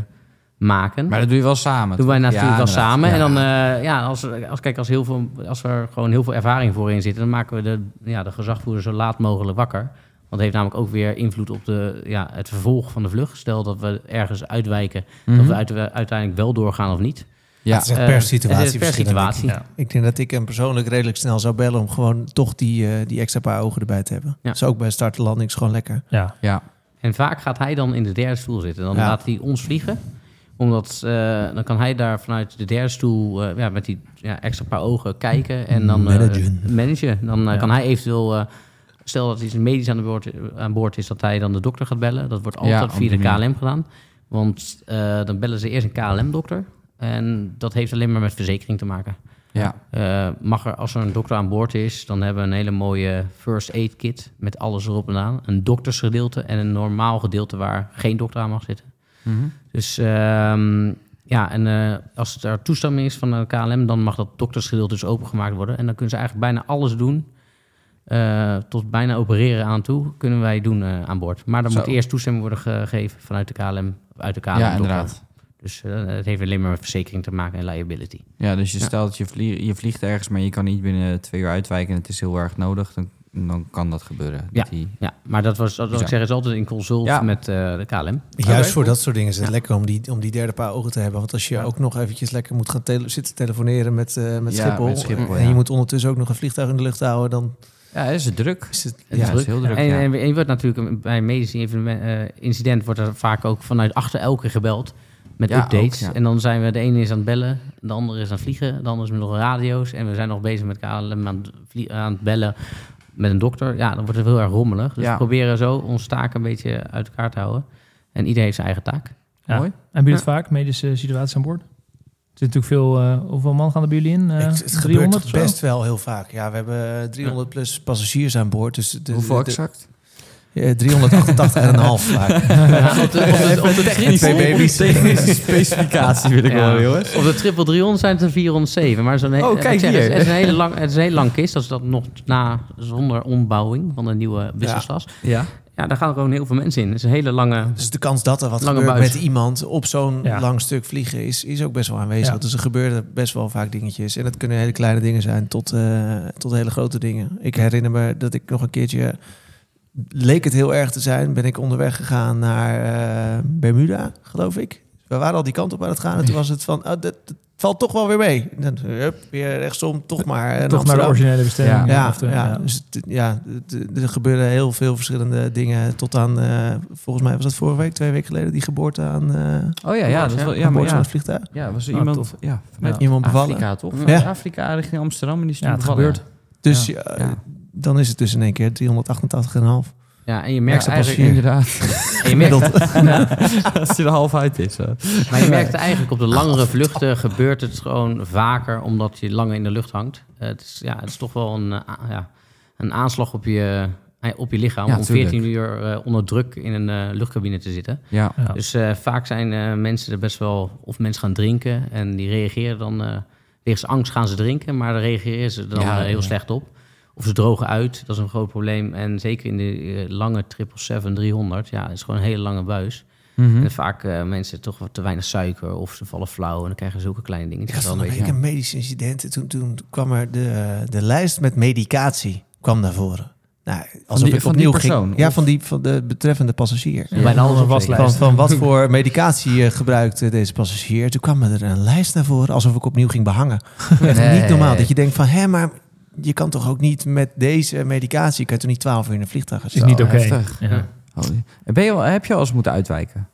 S6: maken.
S4: Maar dat doe je wel samen.
S6: doen
S4: toch?
S6: wij natuurlijk
S4: Ja,
S6: wel
S4: inderdaad.
S6: samen.
S4: Ja.
S6: En dan, eh, ja, als, er- als, kijk, als, heel veel, als er gewoon heel veel ervaring voor in zit, dan maken we de, ja, de gezagvoerder zo laat mogelijk wakker. Want dat heeft namelijk ook weer invloed op de, ja, het vervolg van de vlucht. Stel dat we ergens uitwijken, dat we uit- uiteindelijk wel doorgaan of niet.
S4: ja.
S5: Mhm. Het is echt
S6: Eh,
S5: per
S6: het is
S5: situatie.
S6: per
S5: verschillend, denk ik.
S6: situatie.
S3: Ja.
S5: Ik denk dat ik hem persoonlijk redelijk snel zou bellen om gewoon toch die, eh, die extra paar ogen erbij te hebben.
S6: Ja.
S5: Dat is ook bij start en landing is gewoon lekker.
S3: ja.
S4: ja.
S6: En vaak gaat hij dan in de derde stoel zitten. Dan
S5: Ja.
S6: laat hij ons vliegen. Omdat eh, dan kan hij daar vanuit de derde stoel eh, ja, met die ja, extra paar ogen kijken. En dan eh,
S5: Managen.
S6: managen. Dan eh,
S3: Ja.
S6: kan hij eventueel, eh, stel dat er iets medisch aan, de boord, aan boord is, dat hij dan de dokter gaat bellen. Dat wordt
S4: Ja,
S6: altijd
S4: op
S6: via de
S4: die manier.
S6: KLM gedaan. Want eh, dan bellen ze eerst een KLM-dokter. En dat heeft alleen maar met verzekering te maken.
S4: Ja.
S6: Eh, mag er, als er een dokter aan boord is, dan hebben we een hele mooie first aid kit met alles erop en aan. Een doktersgedeelte en een normaal gedeelte waar geen dokter aan mag zitten.
S4: Mhm.
S6: Dus ehm, ja, en eh, als er toestemming is van de KLM, dan mag dat doktersgedeelte dus opengemaakt worden. En dan kunnen ze eigenlijk bijna alles doen, eh, tot bijna opereren aan toe, kunnen wij doen eh, aan boord. Maar dan
S4: Zo.
S6: moet eerst toestemming worden gegeven vanuit de KLM, uit de KLM.
S4: Ja,
S6: dokter.
S4: inderdaad.
S6: Dus eh, het heeft alleen maar met verzekering te maken en liability.
S4: Ja, dus je stelt je, vlie- je vliegt ergens, maar je kan niet binnen twee uur uitwijken en het is heel erg nodig, dan, dan kan dat gebeuren. Dat die-
S6: Ja, maar dat was, dat, wat ik
S4: Bizar.
S6: zeg, is altijd in consult
S4: Ja.
S6: met eh, de KLM.
S4: Oké,
S5: Juist voor
S4: goed.
S5: dat soort dingen is het lekker om die, om die derde paar ogen te hebben. Want als je ook nog eventjes lekker moet gaan tele- zitten telefoneren met, eh, met,
S4: Ja,
S5: Schiphol,
S4: met Schiphol,
S5: En
S4: ja.
S5: je moet ondertussen ook nog een vliegtuig in de lucht houden. Dan
S4: ja, is het druk.
S5: is het,
S4: Ja, het is heel druk.
S6: en,
S4: ja.
S6: en je wordt natuurlijk een- bij een medisch evenement, eh, incident wordt er vaak ook vanuit achter elke gebeld met
S4: Ja,
S6: updates.
S4: ook, ja.
S6: En dan zijn we de ene is aan het bellen, de andere is aan het vliegen, de andere is met nog radio's. En we zijn nog bezig met KLM aan het, vlie- aan het bellen met een dokter. Ja, dan wordt het heel erg rommelig. Dus
S4: Ja.
S6: we proberen zo onze taken een beetje uit elkaar te houden. En iedereen heeft zijn eigen taak.
S3: Ja.
S4: Mooi.
S3: En biedt het vaak medische situaties aan boord? Er zit natuurlijk veel... eh, hoeveel man gaan er bij jullie in? Eh,
S5: het- het
S3: 300 of
S5: gebeurt
S3: zo?
S5: best wel heel vaak. Ja, we hebben 300 plus passagiers aan boord. Dus de,
S4: Hoeveel
S5: de-
S4: exact?
S5: eh, 388 en een half vaak.
S6: Ja, op de, op de, op de
S4: Twee
S6: triple-
S4: baby's. Technische specificatie wil ik
S6: Ja.
S4: wel, jongens.
S6: Op de Triple Drion zijn het er 407. Maar zo'n he-
S4: Oh,
S6: wat ik
S4: kijk
S6: zeg, het, is,
S4: hier.
S6: het is een hele lang, het is een hele lang kist. Als dat nog na zonder ombouwing van de nieuwe business class. Ja.
S4: Ja.
S6: daar gaan gewoon heel veel mensen in. Het is een hele lange...
S5: Dus de kans dat er wat
S6: Lange
S5: gebeurt
S6: buis.
S5: met iemand op zo'n
S3: Ja.
S5: lang stuk vliegen is, is ook best wel aanwezig.
S3: Ja.
S5: Dus er gebeuren best wel vaak dingetjes. En dat kunnen hele kleine dingen zijn tot, eh, tot hele grote dingen. Ik herinner me dat ik nog een keertje... Leek het heel erg te zijn, ben ik onderweg gegaan naar eh, Bermuda, geloof ik. We waren al die kant op aan het gaan en toen was het van... Oh, dat, dat valt toch wel weer mee. En dan hup, weer rechtsom, toch maar. eh,
S3: Toch naar de
S5: Amsterdam.
S3: originele bestemming.
S4: Ja,
S5: Ja,
S3: Of de-
S5: ja, dus het- ja, het- eh, er gebeuren heel veel verschillende dingen. Tot aan, eh, volgens mij was dat vorige week, twee weken geleden, die geboorte aan, eh
S4: Oh ja, ja.
S6: Ja,
S4: Dat is wel,
S5: aan
S4: ja, maar
S5: boord van
S4: ja.
S5: het vliegtuig.
S4: Ja, was er
S3: Ah,
S4: iemand,
S3: tof.
S4: ja, vanuit
S5: Iemand bevallen.
S4: Afrika, toch?
S6: Ja.
S4: Vanuit Afrika richting Amsterdam en die is
S3: Ja,
S4: toen
S3: het
S4: bevallen.
S3: gebeurt.
S5: Dus
S3: Ja.
S5: ja,
S4: Ja.
S5: dan is het dus in één keer 388,5.
S6: Ja, en je merkt
S5: Ja,
S6: eigenlijk...
S4: Inderdaad.
S6: en je merkt,
S4: Als hij er half uit is. hè.
S6: maar je merkt eigenlijk op de langere vluchten gebeurt het gewoon vaker. Omdat je langer in de lucht hangt. Eh, het, is, ja, het is toch wel een, eh, a- ja, een aanslag op je, eh, op je lichaam.
S4: Ja,
S6: om
S4: tuurlijk.
S6: 14 uur eh, onder druk in een eh, luchtcabine te zitten.
S4: Ja.
S3: Ja.
S6: Dus eh, vaak zijn eh, mensen er best wel... Of mensen gaan drinken en die reageren dan... eh wegens angst gaan ze drinken, maar daar reageren ze dan
S4: Ja,
S6: eh, heel
S4: ja.
S6: slecht op. Of ze drogen uit, dat is een groot probleem. En zeker in de eh, lange 777-300, ja, het is gewoon een hele lange buis. En vaak eh, mensen toch wat te weinig suiker of ze vallen flauw... en dan krijgen ze zulke kleine
S5: Ik
S6: dingetjes.
S5: had
S6: wel
S5: van een week
S6: beetje-
S5: een medisch incident. En toen, toen kwam er de, de lijst met medicatie kwam naar voren. Nou, alsof
S4: die-
S5: ik
S4: van die
S5: opnieuw
S4: persoon,
S5: ging. Ja,
S4: of-
S5: van, die, van de betreffende passagier.
S3: Ja.
S6: eh, Bijna alles
S3: Een
S6: op
S3: waslijst.
S5: Van, van wat voor medicatie eh, gebruikt eh, deze passagier? Toen kwam er een lijst naar voren, alsof ik opnieuw ging behangen. Echt
S4: Nee.
S5: niet normaal. Dat je denkt van, hè, maar je kan toch ook niet met deze medicatie... kan je toch niet twaalf uur in een vliegtuig gaan
S3: is
S5: zitten?
S3: niet oké.
S4: heftig.
S3: Ja.
S4: Holy. Oh, Ben je, al- heb je al eens moeten uitwijken?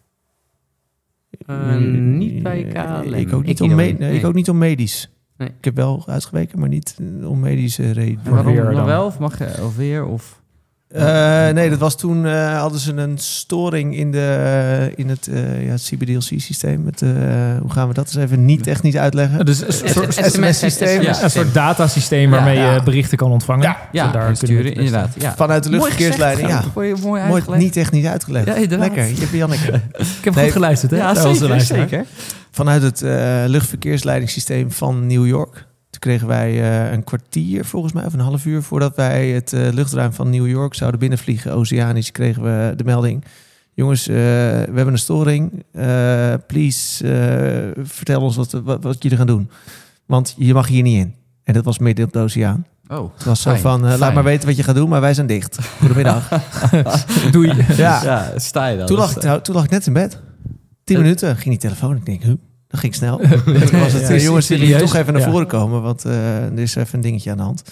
S6: Eh, niet bij KLM.
S5: Ik ook niet,
S6: hier
S5: om,
S6: nog
S5: me- nee,
S6: nee.
S5: ik ook niet om medisch.
S6: Nee.
S5: Ik heb wel uitgeweken, maar niet eh, om medische reden.
S4: En waarom
S3: weer
S4: dan
S3: dan.
S4: wel? Of mag je of weer? Of...
S5: Eh, nee, dat was toen eh, hadden ze een storing in, de, eh, in het, eh, ja, het CBDLC-systeem. Met, eh, hoe gaan we dat eens even niet technisch uitleggen?
S3: Dus een soort,
S6: S- SMS-systeem.
S3: ja, een soort datasysteem
S4: Ja,
S3: waarmee
S5: ja.
S3: je berichten kan ontvangen.
S4: Ja,
S3: daar
S4: en
S3: kunnen we het
S4: sturen,
S3: beste-
S4: inderdaad. Ja.
S5: Vanuit de luchtverkeersleiding, ja.
S4: Mooi, gezegd, mooi
S5: Mooi,
S4: uitgelegd.
S5: niet technisch uitgelegd.
S4: Ja, inderdaad.
S5: Lekker, je hebt Janneke.
S3: Ik heb
S5: Nee,
S3: goed geluisterd, hè?
S4: Ja,
S3: naar onze
S4: zeker,
S3: luisteraar.
S4: zeker.
S5: Vanuit het eh, luchtverkeersleidingssysteem van New York. Toen kregen wij eh, een kwartier volgens mij, of een half uur... voordat wij het eh, luchtruim van New York zouden binnenvliegen, oceanisch... kregen we de melding... Jongens, eh, we hebben een storing. Eh, please, eh, vertel ons wat, wat, wat jullie gaan doen. Want je mag hier niet in. En dat was midden op de oceaan.
S4: Oh,
S5: Het was zo
S4: Fijn,
S5: van, eh,
S4: fijn.
S5: laat maar weten wat je gaat doen, maar wij zijn dicht. Goedemiddag.
S3: Doei.
S5: ja,
S4: ja, sta je dan.
S5: Toen
S4: Dat
S5: lag, ik,
S4: is-
S5: trouw- toen lag ik net in bed. Tien
S4: Eh.
S5: minuten ging die telefoon. Ik denk, huh, dat ging snel. toen was het,
S3: Ja,
S5: eh, jongens, jullie moeten
S3: serieus?
S5: toch even naar
S3: Ja.
S5: voren komen, want eh, er is even een dingetje aan de hand.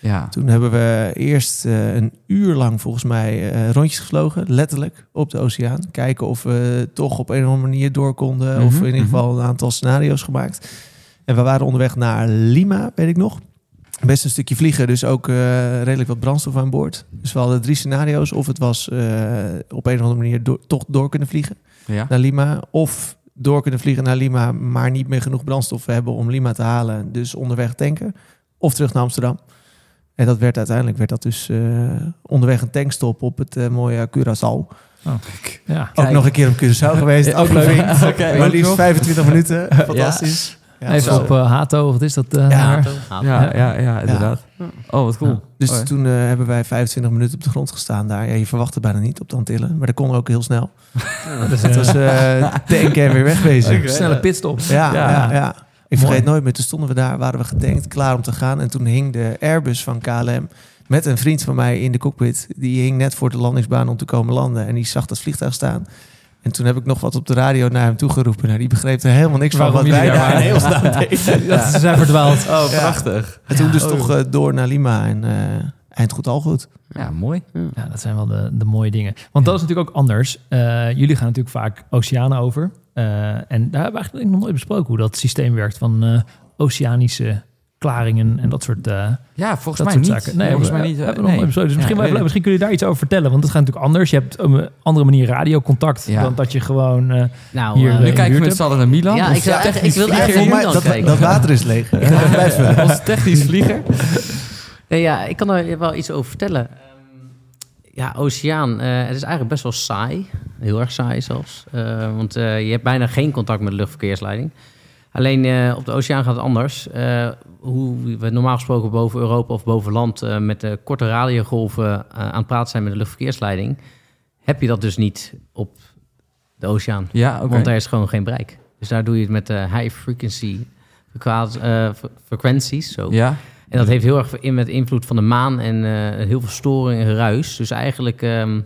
S4: Ja.
S5: Toen hebben we eerst eh, een uur lang volgens mij eh, rondjes gevlogen, letterlijk, op de oceaan. Kijken of we toch op een of andere manier door konden. Of
S4: Mhm,
S5: in ieder
S4: mhm.
S5: geval een aantal scenario's gemaakt. En we waren onderweg naar Lima, weet ik nog. Best een stukje vliegen, dus ook eh, redelijk wat brandstof aan boord. Dus we hadden drie scenario's. Of het was eh, op een of andere manier door- toch door kunnen vliegen
S4: Ja.
S5: naar Lima. Of door kunnen vliegen naar Lima, maar niet meer genoeg brandstof hebben om Lima te halen. Dus onderweg tanken. Of terug naar Amsterdam. En dat werd uiteindelijk werd dat dus eh, onderweg een tankstop op het eh, mooie Curaçao.
S3: Ja.
S5: Ook nog een keer op Curaçao geweest. Ook leuk.
S4: Oké,
S5: Maar liefst 25 minuten. Fantastisch. Ja,
S3: Even
S5: zo.
S3: op eh, Hato, wat is dat? eh,
S5: Ja.
S3: daar?
S6: Haat.
S4: Ja, ja, ja, inderdaad. Oh, wat cool.
S3: Ja.
S5: Dus
S4: Oh, ja.
S5: toen eh, hebben wij 25 minuten op de grond gestaan daar. Ja, je verwacht het bijna niet op de Antillen. Maar dat kon ook heel snel.
S3: Dus,
S5: Het
S3: eh,
S5: was eh tanken en weer wegwezen.
S3: snelle pitstop.
S5: Ja,
S4: Ja.
S5: ja. ja, Ik
S3: Mooi.
S5: vergeet nooit meer. Toen stonden we daar, waren we getankt, klaar om te gaan. En toen hing de Airbus van KLM met een vriend van mij in de cockpit. Die hing net voor de landingsbaan om te komen landen. En die zag dat vliegtuig staan. En toen heb ik nog wat op de radio naar hem toegeroepen. Nou, die begreep er helemaal niks van
S3: Waarom
S5: wat wij
S3: jullie daar
S5: daar in
S3: waren.
S5: Eelsdaan deden.
S3: Dat ze zijn verdwaald.
S4: Oh,
S5: Ja.
S4: prachtig.
S5: En toen dus toch eh, door naar Lima en eh, eind goed al goed.
S4: Ja, mooi.
S3: Ja, dat zijn wel de, de mooie dingen. Want dat is natuurlijk ook anders. Eh, jullie gaan natuurlijk vaak oceanen over. Eh, en daar hebben we eigenlijk nog nooit besproken hoe dat systeem werkt van eh, oceanische klaringen en dat soort, eh,
S4: Ja, volgens
S3: dat
S4: mij
S3: soort
S4: niet.
S3: zaken. Nee,
S4: volgens
S3: we,
S4: mij niet. eh,
S3: hebben we nog
S4: nee.
S3: nooit besproken. Dus misschien,
S4: Ja,
S3: wel-
S4: weet
S3: misschien kun je daar iets over vertellen. Want het gaat natuurlijk anders. Je hebt op een andere manier radiocontact
S4: Ja.
S3: dan dat je gewoon... eh,
S6: Nou,
S3: Hier,
S6: eh,
S3: eh,
S4: ik. Nu kijken we
S3: Huurt
S4: met z'n allen naar Milan.
S6: ja,
S4: Ons
S6: ik, zou
S4: technisch
S6: eigenlijk- ik wil
S4: vlieger.
S6: eigenlijk naar Milan
S5: dat,
S6: kijken.
S5: dat water is leeg. Ik wil erbij vullen.
S4: Ons technisch vlieger.
S6: Nee, ja, ik kan er wel iets over vertellen. Ehm, Ja, oceaan, eh, het is eigenlijk best wel saai. Heel erg saai zelfs. Eh, want eh, je hebt bijna geen contact met de luchtverkeersleiding. Alleen eh, op de oceaan gaat het anders. Eh, hoe we normaal gesproken boven Europa of boven land... eh, met de korte radiogolven eh, aan het praten zijn met de luchtverkeersleiding... heb je dat dus niet op de oceaan.
S4: Ja, oké.
S6: Want daar is gewoon geen bereik. Dus daar doe je het met de high frequency frequa- eh, fre- frequenties. Zo.
S4: Ja,
S6: En dat heeft heel erg in met invloed van de maan en eh, heel veel storing en geruis. Dus eigenlijk, ehm,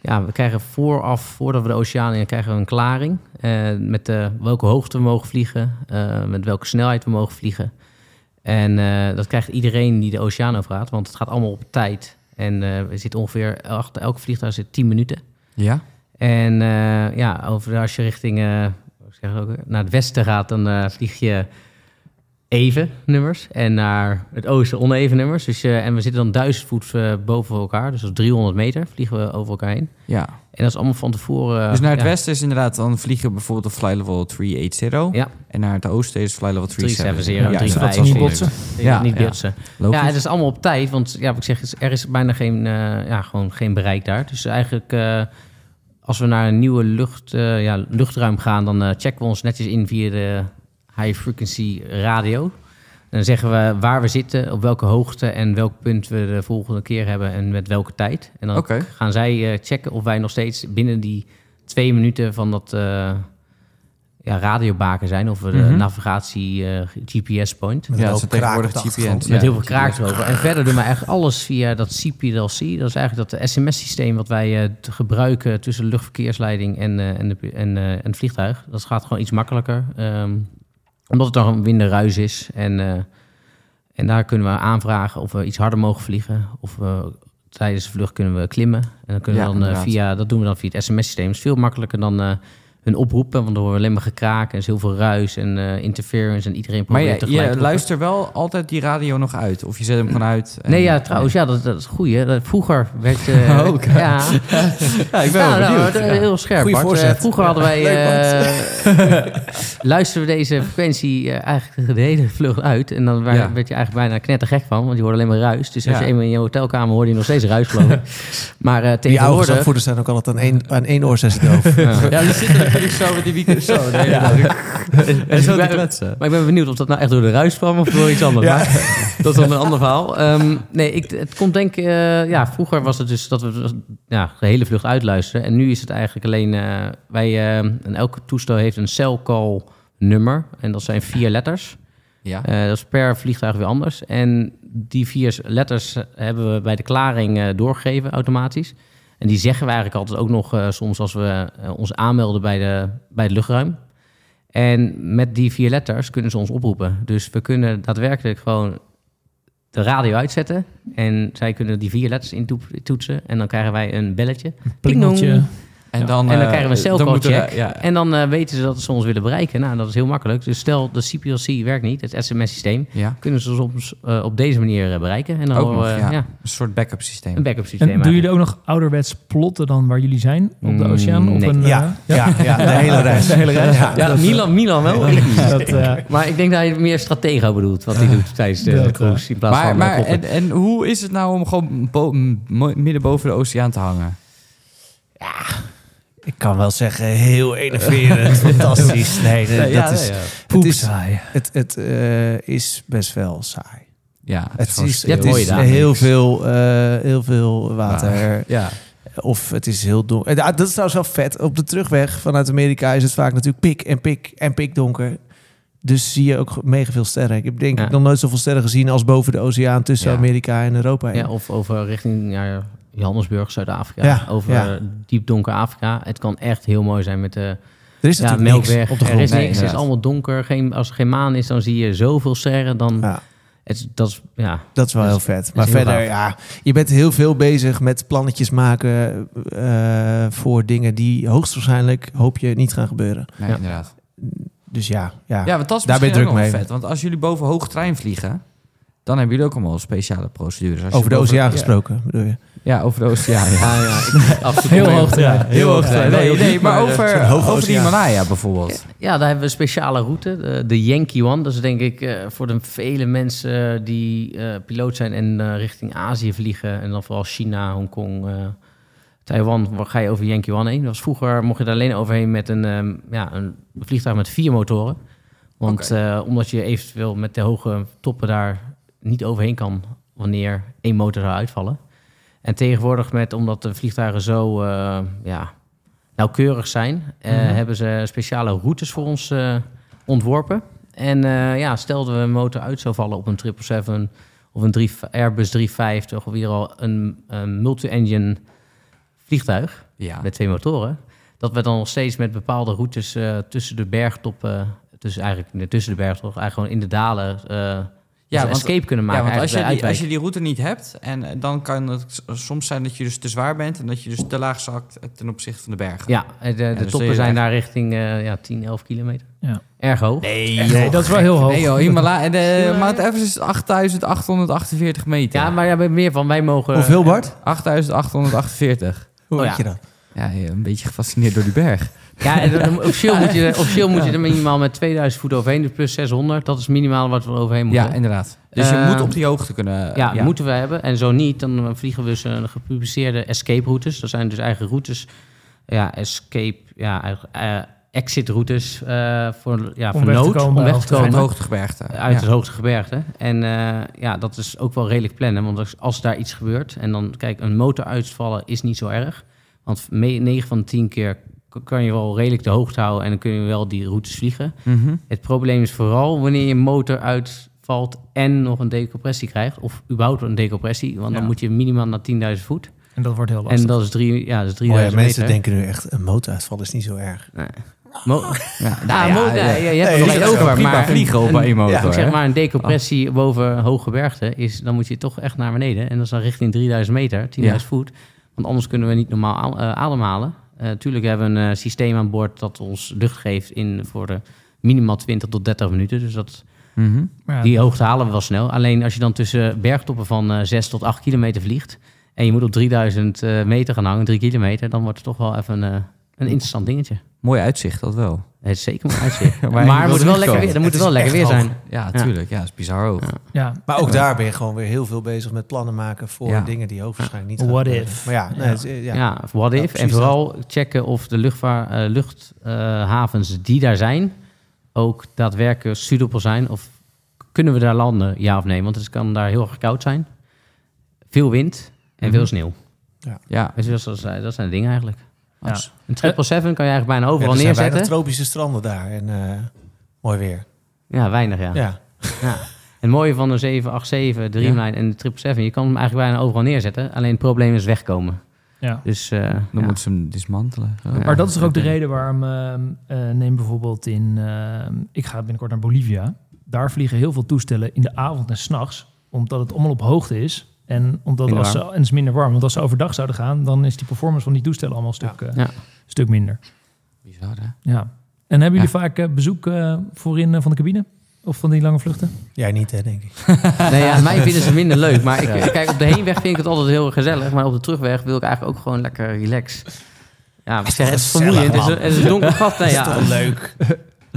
S6: ja, we krijgen vooraf, voordat we de oceaan in, krijgen we een klaring. eh, met eh, welke hoogte we mogen vliegen, eh, met welke snelheid we mogen vliegen. En eh, dat krijgt iedereen die de oceaan overgaat, want het gaat allemaal op tijd. En eh er zit ongeveer, achter elk vliegtuig zit 10 minuten.
S4: ja.
S6: En eh, ja, over, als je richting eh, hoe zeg ik ook, weer? naar het westen gaat, dan eh, vlieg je even nummers. En naar het oosten oneven nummers. Dus, je- en we zitten dan duizend voet eh, boven elkaar. Dus dat is 300 meter vliegen we over elkaar heen.
S4: ja.
S6: En dat is allemaal van tevoren... eh,
S4: Dus naar het
S6: ja,
S4: westen is inderdaad dan vliegen bijvoorbeeld op fly level 380.
S6: Ja,
S4: En naar het oosten is fly level 370.
S6: 370,
S4: Ja, dus dat
S6: 350.
S4: is
S3: niet
S4: wel
S3: botsen.
S4: Ja,
S6: ja, niet
S4: ja.
S6: botsen.
S4: logisch.
S6: Ja, het is allemaal op tijd, want ja, wat ik zeg, er is bijna geen, eh, ja, gewoon geen bereik daar. Dus eigenlijk, eh, als we naar een nieuwe lucht, eh, ja, luchtruim gaan, dan eh, checken we ons netjes in via de high frequency radio. En dan zeggen we waar we zitten, op welke hoogte en welk punt we de volgende keer hebben en met welke tijd. En dan
S4: Oké.
S6: gaan zij eh, checken of wij nog steeds binnen die twee minuten van dat eh, ja, radiobaken zijn of we de
S4: Mhm.
S6: navigatie eh, GPS-point.
S4: Ja, dat is
S5: Ook
S4: tegenwoordig
S5: kraak op de
S4: GPS.
S5: achtergrond.
S6: Met
S4: Ja.
S6: heel veel kraak erover. En verder doen we eigenlijk alles via dat CPLC. Dat is eigenlijk dat sms-systeem wat wij eh, te gebruiken tussen de luchtverkeersleiding en, eh, en, de, en, eh, en het vliegtuig. Dat gaat gewoon iets makkelijker. ehm, omdat het dan minder ruis is. En, eh, en daar kunnen we aanvragen of we iets harder mogen vliegen. Of we tijdens de vlucht kunnen we klimmen. En dan kunnen
S4: Ja,
S6: we dan eh,
S4: inderdaad.
S6: via, dat doen we dan via het sms-systeem. Dat is veel makkelijker dan... eh, hun oproepen, want dan horen we alleen maar gekraak en is heel veel ruis en eh, interference en iedereen
S4: Maar
S6: probeert
S4: je,
S6: tegelijk te
S4: je
S6: roepen.
S4: luistert wel altijd die radio nog uit. Of je zet hem gewoon uit. en- eh,
S6: Nee, ja, trouwens, ja, dat, dat is goed. Hè. Dat- Vroeger werd... eh
S4: Oh, oké.
S6: Ja,
S4: Ja, ik ben
S6: Ja,
S4: wel
S6: nou,
S4: benieuwd.
S6: dat is heel scherp,
S5: Goeie
S6: Bart. Eh,
S5: voorzet.
S6: vroeger hadden wij... eh, luisterden we deze frequentie eh, eigenlijk de hele vlucht uit. En dan wa-
S4: Ja.
S6: werd je eigenlijk bijna knettergek van, want je hoorde alleen maar ruis. Dus als
S4: Ja.
S6: je eenmaal in je hotelkamer hoorde je nog steeds ruis gelopen. maar eh
S5: Die oude
S6: tegenwoordig...
S5: zandvoerders zijn ook altijd aan één, aan één oor zijn ze doof.
S4: Ja, die zitten natuurlijk zo met die wieken zo. Nee, En zo te
S6: Ja.
S4: kletsen.
S6: Maar Dus ik ben benieuwd of dat nou echt door de ruis kwam of door iets anders. Maar dat is dan een ander verhaal. Ehm, nee, ik, het komt denk ik... eh, ja, vroeger was het dus dat we ja, de hele vlucht uitluisteren. En nu is het eigenlijk alleen... eh, wij, eh, en elk toestel heeft een cellcall nummer. En dat zijn vier letters.
S4: Ja.
S6: Eh, dat is per vliegtuig weer anders. En die vier letters hebben we bij de klaring eh, doorgegeven automatisch. En die zeggen we eigenlijk altijd ook nog eh, soms als we eh, ons aanmelden bij, de, bij het luchtruim. En met die vier letters kunnen ze ons oproepen. Dus we kunnen daadwerkelijk gewoon de radio uitzetten. En zij kunnen die vier letters intoetsen. En dan krijgen wij een belletje. Ping-dong.
S3: Plingeltje.
S4: En, dan,
S6: en dan
S4: eh,
S6: krijgen we een
S4: dan moeten we-
S6: celcode-check.
S4: ja.
S6: En dan eh, weten ze dat ze ons willen bereiken. Nou, dat is heel makkelijk. Dus stel, de CPLC werkt niet, het sms-systeem.
S4: Ja,
S6: Kunnen ze soms eh, op deze manier eh, bereiken. En dan
S4: ook
S6: horen
S4: nog,
S6: we,
S4: ja.
S6: ja,
S4: Een soort backup systeem.
S6: een backup systeem
S3: En doen jullie
S6: eigenlijk.
S3: ook nog ouderwets plotten dan waar jullie zijn? Op de
S6: Mm,
S3: oceaan? Op
S6: nee.
S3: een, eh,
S5: Ja, ja, ja, de hele reis.
S3: De hele reis.
S5: Ja,
S6: Ja,
S5: dat-
S6: Milan, Milan wel.
S3: dat, eh,
S6: Maar ik denk dat hij meer stratego bedoelt, wat hij doet tijdens de
S3: Dat, eh,
S6: cruise in plaats
S4: Maar,
S6: van eh,
S4: maar
S6: koppen.
S4: en, en hoe is het nou om gewoon bo- m- mo- midden boven de oceaan te hangen?
S5: Ik kan wel zeggen, heel enerverend, fantastisch. Nee, dat,
S4: ja,
S5: dat is,
S4: ja.
S5: het, is,
S3: saai.
S5: het, het eh, is best wel saai.
S4: Ja, het
S5: Het
S4: gewoon
S5: is,
S4: stil.
S5: het
S6: hoor je
S5: is
S6: daar
S5: heel,
S4: niks.
S5: veel, eh, heel veel water.
S4: Ja,
S5: Of het is heel donker. Eh, Dat is trouwens wel vet. Op de terugweg vanuit Amerika is het vaak natuurlijk pik en pik en pik donker. Dus zie je ook mega veel sterren. Ik heb denk
S6: Ja.
S5: ik nog nooit zoveel sterren gezien als boven de oceaan tussen
S4: Ja.
S5: Amerika en Europa. heen.
S6: Ja, of over richting ja, Johannesburg, Zuid-Afrika.
S5: Ja,
S6: over eh,
S5: ja.
S6: diep donker Afrika. Het kan echt heel mooi zijn met de
S5: er is
S6: ja,
S5: natuurlijk niks
S6: melkweg.
S5: op de
S6: er
S5: grond.
S6: is
S4: Nee,
S6: niks, het is
S4: inderdaad.
S6: allemaal donker. Geen, als er geen maan is, dan zie je zoveel sterren. Dan,
S5: Ja.
S6: het, is- dat is, ja,
S5: Dat is wel
S6: Dat
S5: heel
S6: is-
S5: vet.
S6: Dus is
S5: Maar
S6: heel
S5: verder,
S6: gaaf.
S5: ja, je bent heel veel bezig met plannetjes maken eh, voor dingen die hoogstwaarschijnlijk, hoop je, niet gaan gebeuren.
S4: nee,
S6: Ja.
S4: inderdaad.
S5: Dus ja, ja.
S4: Ja, want dat is
S5: Daar ben
S4: misschien
S5: je druk
S4: ook nog wel
S5: mee.
S4: vet. Want als jullie boven hoogtrein vliegen, dan hebben jullie ook allemaal speciale procedures. Als je
S5: over de
S4: boven-
S5: oceaan
S4: ja.
S5: gesproken, bedoel je?
S4: Ja, over de oceaan, ja.
S6: Ah, ja, ik- af en toe
S3: Heel
S6: kom je-
S3: hoog terrein.
S4: Heel hoogtrein. Nee, nee, maar
S5: zo'n
S4: over, over
S5: hoge
S4: de
S5: oceaan.
S4: Himalaya bijvoorbeeld.
S6: Ja, daar hebben we een speciale route. De, de Yankee One. Dat is denk ik eh, voor de vele mensen die eh, piloot zijn en eh, richting Azië vliegen. En dan vooral China, Hongkong, eh, Taiwan. Waar ga je over Yankee One heen? Dat was vroeger mocht je er alleen overheen met een, ehm, ja, een vliegtuig met vier motoren. Want eh, omdat je eventueel met de hoge toppen daar niet overheen kan wanneer één motor zou uitvallen. En tegenwoordig met, omdat de vliegtuigen zo eh, ja, nauwkeurig zijn, eh,
S4: Mhm.
S6: hebben ze speciale routes voor ons eh, ontworpen. En eh ja, stelden we een motor uit zou vallen op een 777 of een 3, Airbus 350 of in ieder geval een, een multi-engine vliegtuig
S4: Ja.
S6: met twee motoren. Dat we dan nog steeds met bepaalde routes eh, tussen de bergtoppen, dus eigenlijk nee, tussen de bergtoppen, eigenlijk gewoon in de dalen, eh ja,
S4: want-
S6: escape kunnen maken.
S4: ja, want als je, die,
S6: eigenlijk
S4: als
S6: bij uitwijken.
S4: je die route niet hebt, en eh, dan kan het s- soms zijn dat je dus te zwaar bent en dat je dus te laag zakt ten opzichte van de bergen.
S6: Ja, eh, de, de
S4: dus zul je
S6: toppen zijn
S4: echt-
S6: daar richting eh, ja, 10, 11 kilometer.
S3: Ja.
S6: Erg hoog.
S4: Nee,
S3: Nee, dat is wel heel hoog.
S4: Nee joh, Himalaya, en de Mount Everest is 8848 meter.
S6: Ja, maar daar ben ik meer van. Wij mogen...
S5: Hoeveel, Bart?
S4: 8848.
S5: Hoe
S6: Oh
S5: weet
S6: ja.
S5: je dat?
S4: Ja, je- een beetje gefascineerd door die berg.
S6: Ja, en dan- officieel moet je, officieel moet je er minimaal met 2000 voet overheen, dus plus 600. Dat is minimaal wat we er overheen moeten.
S4: Ja, eh, inderdaad. Dus je
S6: Eh,
S4: moet op die hoogte kunnen...
S6: Ja, moeten we hebben. En zo niet, dan eh, vliegen we dus eh, gepubliceerde escape routes. Dat zijn dus eigen routes. Ja, escape, ja, eigen- eh, exit routes eh, voor, ja,
S3: Om
S6: voor
S3: weg te
S6: nood,
S3: komen
S6: om
S3: bij
S6: weg te
S3: hoogtegevaar.
S4: Van
S6: komen
S4: hoogtegebergte.
S6: uit
S4: Ja.
S6: het hoogste gebergte. En eh, ja, dat is ook wel redelijk plannen. Want als, als daar iets gebeurt en dan, kijk, een motor uitvallen is niet zo erg. Want 9 van de 10 keer k- kan je wel redelijk de hoogte houden en dan kun je wel die routes vliegen.
S4: Mhm.
S6: Het probleem is vooral wanneer je motor uitvalt en nog een decompressie krijgt. Of überhaupt een decompressie, want
S3: Ja.
S6: dan moet je minimaal naar 10.000 voet.
S3: En dat wordt heel lastig.
S6: En dat is, drie, ja, dat is 3000
S5: Oh ja, mensen
S6: meter.
S5: denken nu echt, een motoruitval is niet zo erg.
S6: Mo- ja, nou, mo- ja, je hebt
S5: Nee,
S6: er nog
S5: dat
S6: niet
S5: is ook
S6: over,
S4: prima
S6: maar
S4: vliegen op
S6: een-
S4: één motor,
S6: ik
S4: hè? Oh.
S6: zeg maar een decompressie boven hoge gebergte is, dan moet je toch echt naar beneden. En dat is dan richting 3000 meter, 10.000
S4: Ja.
S6: voet. Want anders kunnen we niet normaal a- eh, ademhalen. Eh, tuurlijk hebben we een eh, systeem aan boord dat ons lucht geeft in voor de minimaal 20 tot 30 minuten. Dus dat,
S4: Mhm.
S3: Maar ja,
S6: die hoogte halen we wel snel. Alleen als je dan tussen bergtoppen van eh, 6 tot 8 kilometer vliegt. en je moet op 3000 eh, meter gaan hangen, 3 kilometer. dan wordt het toch wel even eh, een interessant dingetje.
S4: Mooi uitzicht, dat wel.
S6: Het is zeker maar uitzicht.
S4: Maar
S6: maar
S4: je
S6: het
S4: wilt
S6: moet
S4: niet
S6: wel lekker
S4: komen.
S6: weer, dan
S5: Het
S6: moet het
S5: is
S6: wel lekker weer
S5: echt
S6: zijn.
S5: hoog.
S4: Ja, tuurlijk. Ja, is bizar hoog.
S3: ja.
S5: Maar ook daar ben je gewoon weer heel veel bezig met plannen maken voor
S4: Ja.
S5: dingen die hoogstwaarschijnlijk niet
S3: What
S5: gaan gebeuren.
S3: if?
S5: Maar ja, nee, het is- eh, ja.
S6: Ja, of what
S5: Ja,
S6: if. en
S5: precies
S6: vooral checken of de luchtvaar- eh, luchthavens die daar zijn... ook daadwerkelijk suitable zijn. Of kunnen we daar landen, ja of nee? Want het kan daar heel erg koud zijn. Veel wind en
S5: Mhm.
S6: veel sneeuw.
S4: Ja.
S6: Dus dat, is- dat zijn de dingen eigenlijk.
S3: Ja.
S6: Een 777 kan je eigenlijk bijna
S5: Eh, Ja,
S6: overal
S5: er zijn
S6: neerzetten.
S5: weinig tropische stranden daar en eh, mooi weer.
S6: ja, weinig, ja.
S5: Ja.
S6: Het mooie van een 787, de Dreamline en de 777... je kan hem eigenlijk bijna overal neerzetten. Alleen het probleem is wegkomen.
S3: Ja.
S6: Dus eh,
S4: Dan
S6: ja.
S4: moeten ze hem dismantelen. Oh.
S3: Maar dat is toch ook de
S6: oké.
S3: reden waarom, ehm, eh, neem bijvoorbeeld in, ehm, ik ga binnenkort naar Bolivia. Daar vliegen heel veel toestellen in de avond en s'nachts, omdat het allemaal op hoogte is. En omdat
S6: Minder
S3: als ze, en het is minder warm. Want als ze overdag zouden gaan, dan is die performance van die toestellen allemaal een stuk, eh,
S6: Ja.
S3: stuk minder.
S6: Bizar, hè?
S3: Ja. En hebben jullie vaak eh, bezoek eh, voorin eh, van de cabine? Of van die lange vluchten?
S5: Jij niet, hè, denk ik.
S6: Nee, ja, mij vinden ze minder leuk. Maar ik, kijk, op de heenweg vind ik het altijd heel gezellig. Maar op de terugweg wil ik eigenlijk ook gewoon lekker relax. Ja, ik zeg, het is
S5: gezellig,
S6: vermoeiend. Het is,
S5: man.
S6: een- het is een donker gat. Nee, ja.
S5: leuk.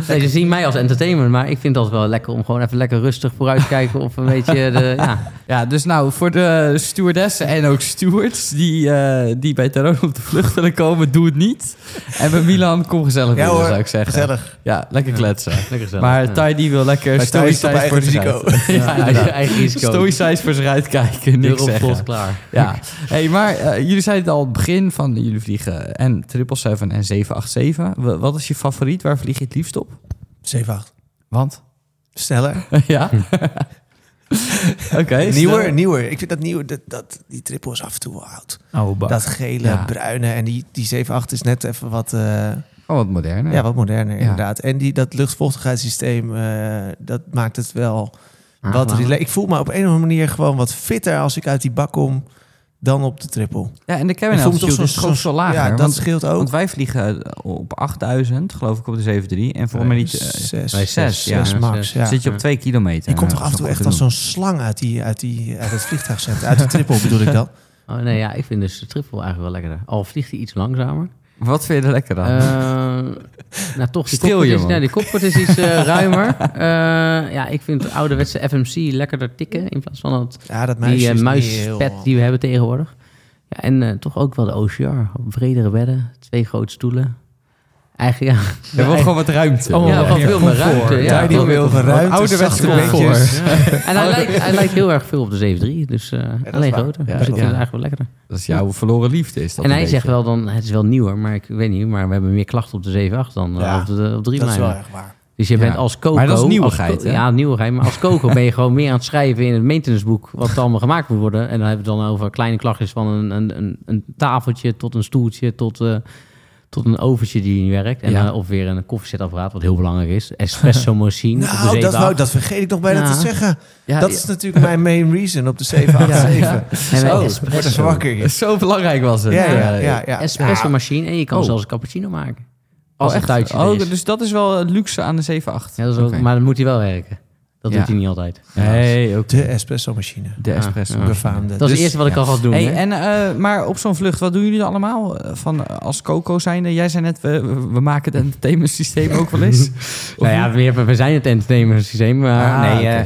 S6: Nee, ze zien mij als entertainer, maar ik vind dat wel lekker om gewoon even lekker rustig vooruit te kijken. Of een beetje de, ja,
S4: Ja, dus nou, voor de stewardessen en ook stewards die, eh, die bij Terron op de vlucht willen komen, doe het niet. En bij Milan, kom gezellig
S5: Ja
S4: binnen,
S5: hoor,
S4: zou ik zeggen.
S5: gezellig.
S4: Ja, lekker kletsen.
S6: lekker gezellig.
S4: Maar
S6: ja.
S4: Tai die wil lekker
S5: Bij Thij is het op
S4: stoïcijns voor
S5: eigen
S4: zich uit.
S5: risico.
S4: Ja,
S6: Ja,
S4: inderdaad.
S6: eigen risico.
S4: Stoïcijns voor zich uitkijken,
S6: Deur
S4: niks
S6: op slot,
S4: zeggen.
S6: klaar.
S4: Ja. Hey, maar eh, jullie zeiden het al aan het begin van jullie vliegen en 777 en 787. Wa- Wat is je favoriet? Waar vlieg je het liefst op?
S5: 7-8.
S4: Want?
S5: Sneller.
S4: ja. Oké.
S5: nieuwer,
S4: stel-
S5: nieuwer. Ik vind dat nieuwe, dat, dat, die triple is af en toe wel oud.
S3: Oude bak.
S5: Dat gele,
S4: Ja.
S5: bruine en die, die 7-8 is net even wat, eh,
S4: Gewoon wat moderner.
S5: ja, wat moderner
S4: Ja.
S5: inderdaad. En die, dat luchtvochtigheidssysteem, eh, dat maakt het wel
S6: Ah,
S5: wat
S6: nou.
S5: rela- Ik voel me op een of andere manier gewoon wat fitter als ik uit die bak kom dan op de triple.
S4: Ja, en de cabin
S5: Ik voel me
S4: altitude
S5: toch zo'n-
S4: is dus gewoon
S5: zo'n-
S4: veel lager.
S5: ja, dat
S4: want,
S5: scheelt ook.
S4: want wij vliegen eh, op 8000, geloof ik, op de 73. En volgens mij niet... eh,
S5: Zes.
S6: Bij
S4: zes, ja.
S5: Zes max, ja.
S4: Zit je op 2 kilometer.
S5: Ik kom toch
S4: Ja,
S5: af en
S4: dat
S5: toe
S4: is
S5: echt
S4: wel
S5: als
S4: goed
S5: zo'n slang uit, die, uit, die, uit het vliegtuigcentrum. Uit de triple bedoel ik dan.
S6: Oh, nee, ja, ik vind dus de triple eigenlijk wel lekkerder. Al vliegt hij iets langzamer.
S4: te doen. Wat vind je er lekker aan?
S6: Eh, nou, toch, die
S4: Stil,
S6: cockpit is,
S4: jongen.
S6: nou, die cockpit is iets eh, ruimer. Eh, ja, ik vind de ouderwetse FMC lekkerder tikken in plaats van dat,
S5: Ja, dat muisje
S6: die eh,
S5: is
S6: muispet
S5: heel-
S6: die we hebben tegenwoordig. Ja, en eh, toch ook wel de OCR. Bredere bedden, twee grote stoelen. Eigenlijk, ja.
S4: We hebben gewoon wat ruimte.
S6: Oh, ja, gewoon veel meer ruimte. Ja,
S4: Daar die
S6: veel meer
S4: wil
S5: comfort.
S4: ruimte.
S5: Ouderwetse
S4: Ouderwetse
S5: comfort.
S4: comfort.
S6: En hij lijkt, hij lijkt heel erg veel op de 7-3, dus eh,
S5: is
S6: alleen
S5: waar.
S6: groter.
S4: Ja,
S6: dus ik
S4: ja.
S6: vind het eigenlijk wel lekkerder.
S4: Dat is jouw verloren liefde, is dat
S6: en
S4: een
S6: hij
S4: beetje.
S6: zegt wel dan, het is wel nieuwer, maar ik weet niet, maar we hebben meer klachten op de 7-8 dan eh,
S5: Ja,
S6: op de op drie
S5: Dat is wel
S6: mijlen.
S5: erg waar.
S6: Dus je
S4: Ja.
S6: bent als Coco...
S4: Maar dat is
S6: als
S4: nieuwigheid,
S6: Co-
S4: hè?
S6: Ja, nieuwigheid. Maar als Coco ben je gewoon meer aan het schrijven in het maintenanceboek... wat er allemaal gemaakt moet worden. En dan hebben we het dan over kleine klachtjes van een, een, een, een tafeltje... tot een stoeltje, tot, eh, tot een overtje die niet werkt. En,
S4: Ja.
S6: eh, of weer een koffiezetapparaat, wat heel belangrijk is. Espresso machine op de
S5: Nou, dat,
S6: zeebaar.
S5: wou, dat vergeet ik nog bijna
S6: Ja.
S5: te zeggen.
S4: Ja,
S5: dat
S4: ja.
S5: is natuurlijk mijn main reason op de 787.
S6: Ja.
S5: Zo,
S6: En een
S5: wordt er
S6: espresso.
S5: wakker. hier.
S4: Zo belangrijk was het.
S5: Ja, ja, ja. ja.
S6: espresso
S5: Ja.
S6: machine. En je kan
S4: Oh.
S6: zelfs een cappuccino maken. Als
S4: Oh,
S6: het
S4: echt?
S6: tuitje
S4: Oh,
S6: er is.
S4: dus dat is wel het luxe aan de 7-8.
S6: Ja, dat is wel-
S4: Oké.
S6: Maar dan moet hij wel werken. Dat
S4: Ja.
S6: doet hij niet altijd.
S4: Nee, ook
S5: De espresso machine.
S4: de espresso.
S6: ja.
S5: Befaamde.
S6: Dat is
S4: Dus-
S6: het eerste wat ik
S4: ja.
S6: al had doen.
S4: Hey,
S6: hè?
S4: en, eh, maar op zo'n vlucht, wat doen jullie allemaal? Eh, Van, eh, als Coco zijnde, jij zei net, we, we- we maken het entertainment systeem ook wel eens.
S6: Nou ja, we, we zijn het entertainment systeem, maar
S4: Ah,
S6: nee,
S4: oké.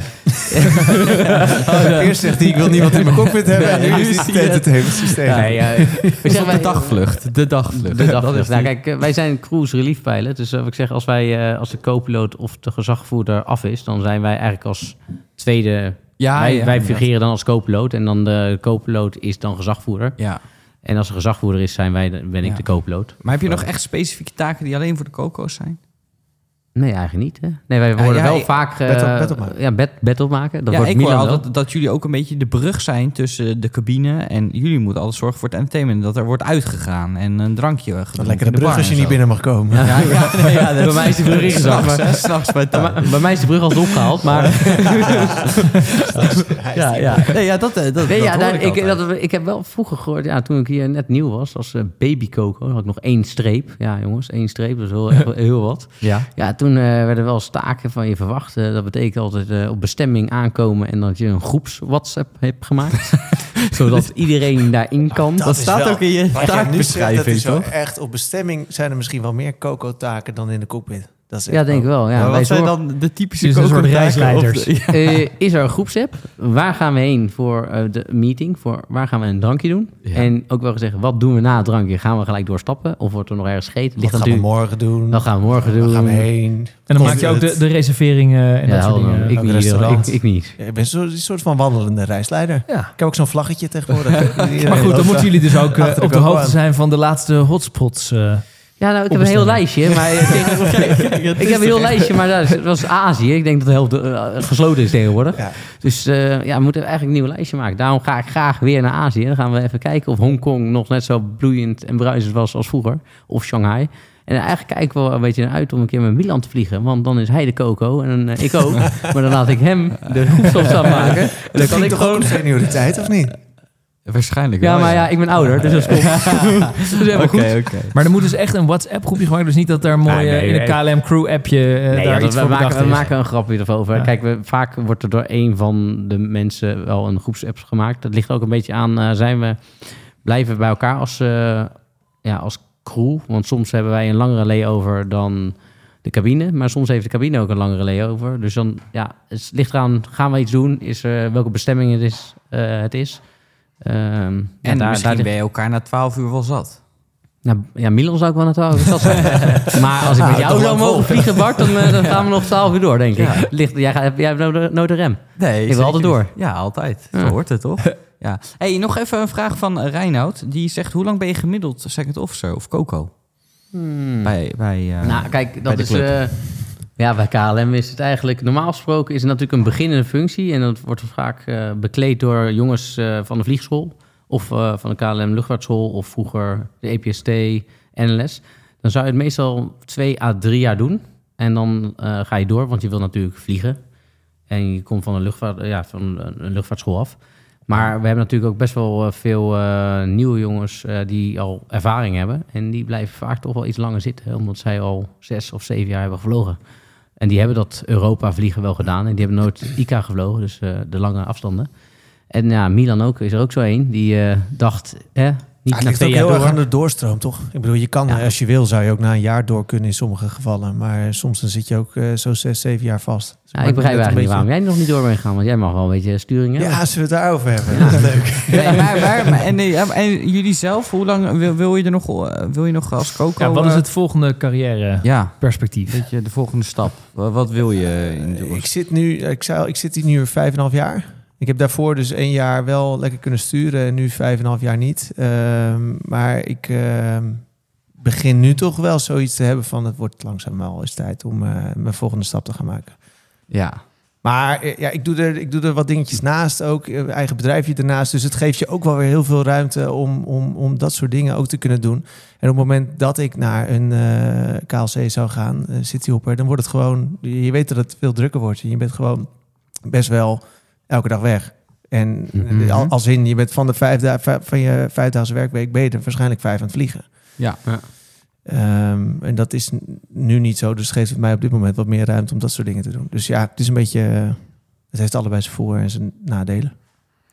S6: eh,
S4: Oh,
S5: Eerst zegt hij, ik wil niemand in mijn cockpit hebben. En nu is
S4: zie
S5: het
S4: je-
S5: entertainment systeem.
S6: nee, eh,
S4: We
S6: zeggen
S4: de
S6: wij-
S4: dagvlucht. De dagvlucht.
S6: de dag.
S4: Dat is
S6: nou,
S4: die-
S6: kijk, eh, wij zijn cruise relief pilot. Dus eh, wat ik zeg, als, wij, eh, als de co-piloot of de gezagvoerder af is, dan zijn wij eigenlijk als tweede.
S4: ja,
S6: wij,
S4: ja,
S6: wij
S4: inderdaad.
S6: fungeren dan als co-piloot en dan de co-piloot is dan gezagvoerder.
S4: Ja.
S6: En als er gezagvoerder is, zijn wij, de- ben ik
S4: Ja.
S6: de co-piloot.
S4: Maar heb je nog echt specifieke taken die alleen voor de Coco's zijn?
S6: Nee, eigenlijk niet. Hè? Nee, wij
S4: Ja,
S6: worden
S4: ja,
S6: wel
S4: ik-
S6: vaak. eh,
S5: bed op- bed opmaken.
S6: Ja, bed, bed opmaken. Dat
S4: ja,
S6: wordt
S4: ik hoor
S6: Milan wel.
S4: altijd dat jullie ook een beetje de brug zijn tussen de cabine en jullie moeten altijd zorgen voor het entertainment. Dat er wordt uitgegaan en een drankje gedronken.
S5: Een
S4: in
S5: lekkere
S4: de bar
S5: brug als
S4: en
S5: je niet
S4: zo.
S5: binnen mag komen.
S4: Ja, ja, nee, ja, dat
S6: Bij mij is die brug ingezakt.
S4: S'nachts, hè, S'nachts bij
S6: Ja,
S4: Tom.
S6: maar bij mij is de brug altijd opgehaald, maar
S4: Ja, ja. Nee, ja, dat, eh, dat,
S6: Nee,
S4: dat
S6: ja,
S4: hoor
S6: daar,
S4: ik
S6: ik,
S4: altijd.
S6: dat, ik heb wel vroeger gehoord, ja, toen ik hier net nieuw was, als eh, baby coco, had ik nog één streep. Ja, jongens, één streep, dat is wel echt wel heel wat.
S4: Ja.
S6: Ja, toen eh, werden wel staken van je verwacht. Eh, dat betekent altijd eh, op bestemming aankomen en dat je een groeps WhatsApp hebt gemaakt. zodat iedereen daarin kan.
S4: Dat staat
S5: wel-
S4: ook in je
S5: wat jij nu
S4: taakbeschrijving,
S5: zegt, dat is wel
S4: toch?
S5: Echt, op bestemming zijn er misschien wel meer coco-taken dan in de cockpit. Dat is echt
S6: ja, denk ik wel. Ja,
S4: maar
S6: Wij
S4: wat zijn
S6: zorgen-
S4: dan de typische
S3: Dit is een soort
S4: kokertaken op de-
S3: reisleiders.
S4: Ja.
S6: Eh, is er een groepsapp? Waar gaan we heen voor eh, de meeting? Voor waar gaan we een drankje doen?
S4: Ja.
S6: En ook wel gezegd, wat doen we na het drankje? Gaan we gelijk doorstappen? Of wordt er nog ergens gegeten?
S5: Wat
S6: Ligt
S5: gaan we
S6: natuurlijk-
S5: morgen doen?
S6: Dat gaan we morgen doen.
S5: Waar gaan we heen?
S3: En dan maak je ook de, de reserveringen en
S6: Ja,
S3: dat soort
S6: helemaal.
S3: dingen.
S6: ik,
S5: Ook
S6: niet,
S5: restaurant.
S6: ik, ik niet.
S5: Ja, ik ben zo- een soort van wandelende reisleider.
S3: Ja.
S5: Ik heb ook zo'n vlaggetje tegenwoordig. eh,
S3: Maar goed, dan moeten jullie dus ook eh,
S5: Achter de
S3: op de
S5: koko
S3: hoogte
S5: aan.
S3: zijn van de laatste hotspots. eh.
S6: Ja, nou, ik heb een heel
S3: bestemming.
S6: lijstje, maar eh, tegen- ik heb een heel lijstje, maar dat is- dat was Azië. Ik denk dat de helft eh, gesloten is tegenwoordig.
S5: Ja.
S6: Dus eh, ja, we moeten eigenlijk een nieuw lijstje maken. Daarom ga ik graag weer naar Azië. Dan gaan we even kijken of Hongkong nog net zo bloeiend en bruisend was als vroeger. Of Shanghai. En eigenlijk kijk ik wel een beetje naar uit om een keer met Milan te vliegen. Want dan is hij de Coco en eh, ik ook. maar dan laat ik hem de groepsopstand maken. En dan
S5: Dat
S6: kan
S5: vind
S6: ik
S5: toch ook
S6: gewoon...
S5: op senioriteit, of niet?
S4: Waarschijnlijk
S6: Ja,
S4: wel.
S6: maar ja, ik ben ouder, dus dat is goed. dat is helemaal
S4: Oké,
S6: goed.
S4: oké.
S3: Maar er moet dus echt een WhatsApp-groepje gemaakt. Dus niet dat er mooi
S6: Ah, nee,
S3: eh, in een KLM Crew-appje eh,
S6: Nee,
S3: daar
S6: ja, dat-
S3: iets
S6: we,
S3: voor
S6: maken,
S3: bedacht
S6: we
S3: is.
S6: maken een grapje erover.
S3: Ja.
S6: Kijk, we, vaak wordt er door een van de mensen wel een groepsapp gemaakt. Dat ligt ook een beetje aan, eh, zijn we blijven we bij elkaar als, eh, ja, als crew? Want soms hebben wij een langere layover dan de cabine. Maar soms heeft de cabine ook een langere layover. Dus dan, ja, het ligt eraan, gaan we iets doen? Is, eh, welke bestemming het is? eh, het is. Ehm, ja,
S4: En
S6: daar-
S4: misschien
S6: daar
S4: ben je elkaar na 12 uur wel zat.
S6: nou, ja, Milan zou ik wel naar 12 uur zat zijn. maar als ik met jou zou mogen vliegen, Bart, dan, eh, dan gaan we nog 12 uur door, denk ik. Ligt, jij, gaat, jij hebt nooit de- nooit de rem.
S4: Nee,
S6: wil
S4: zeker
S6: altijd
S4: niet.
S6: door.
S4: Ja, altijd.
S6: Ja.
S4: Zo hoort het, toch? ja. hey, nog even een vraag van eh, Reinoud. Die zegt, hoe lang ben je gemiddeld second officer of coco? Bij, bij, eh,
S6: nou, kijk, dat
S4: de
S6: is...
S4: club.
S6: eh, ja, bij KLM is het eigenlijk... Normaal gesproken is het natuurlijk een beginnende functie. En dat wordt vaak eh, bekleed door jongens eh, van de vliegschool. Of eh, van de KLM luchtvaartschool. Of vroeger de E EPST, NLS. Dan zou je het meestal twee à drie jaar doen. En dan eh, ga je door, want je wil natuurlijk vliegen. En je komt van een, luchtvaart, ja, van een een luchtvaartschool af. Maar we hebben natuurlijk ook best wel eh, veel eh, nieuwe jongens eh, die al ervaring hebben. En die blijven vaak toch wel iets langer zitten, hè, omdat zij al zes of zeven jaar hebben gevlogen. En die hebben dat Europa vliegen wel gedaan. En die hebben nooit ICA gevlogen, dus eh, de lange afstanden. En ja, Milan ook, is er ook zo één. Die eh, dacht, hè, niet
S5: Ja,
S6: na
S5: het ligt
S6: twee
S5: ook
S6: jaar
S5: heel
S6: door.
S5: erg aan de doorstroom, toch? Ik bedoel, je kan,
S6: Ja.
S5: eh, als je wil, zou je ook na een jaar door kunnen in sommige gevallen. Maar eh, soms dan zit je ook eh, zo zes, zeven jaar vast. Dus
S6: Ja,
S5: maakt
S6: ik begrijp
S5: het
S6: eigenlijk
S5: een
S6: niet waarom jij nog niet door bent gegaan, want jij mag wel een beetje sturing
S5: beetje-
S6: hebben.
S5: Ja, als we het daarover hebben. Dat is leuk.
S4: Nee, maar, maar- maar- en, nee, ja, maar- en jullie zelf, hoe lang wil, wil je er nog, eh, wil je nog als coco?
S3: Ja, wat is
S4: eh,
S3: het volgende carrière
S4: Ja,
S3: perspectief?
S4: weet je, de volgende stap. Wat, wat wil je in de
S5: Ik
S4: toekomst?
S5: zit nu, ik, zou, ik zit hier nu vijf en een half jaar. Ik heb daarvoor dus één jaar wel lekker kunnen sturen en nu vijf en een half jaar niet. Ehm, maar ik ehm, begin nu toch wel zoiets te hebben van het wordt langzaam wel eens tijd om eh, mijn volgende stap te gaan maken.
S4: Ja.
S5: Maar eh, ja, ik doe, er, ik doe er wat dingetjes naast ook. eh, Eigen bedrijfje ernaast. Dus het geeft je ook wel weer heel veel ruimte om, om, om dat soort dingen ook te kunnen doen. En op het moment dat ik naar een eh, KLC zou gaan, eh, cityhopper, dan wordt het gewoon... Je weet dat het veel drukker wordt. Je bent gewoon best wel elke dag weg. En eh,
S4: Mhm.
S5: al- als in, je bent van, de vijf da- va- van je vijfdaagse werkweek ben je er waarschijnlijk vijf aan het vliegen.
S4: Ja.
S5: Ehm, en dat is n- nu niet zo. Dus geeft het mij op dit moment wat meer ruimte om dat soort dingen te doen. Dus ja, het is een beetje. eh, Het heeft allebei zijn voor- en zijn nadelen.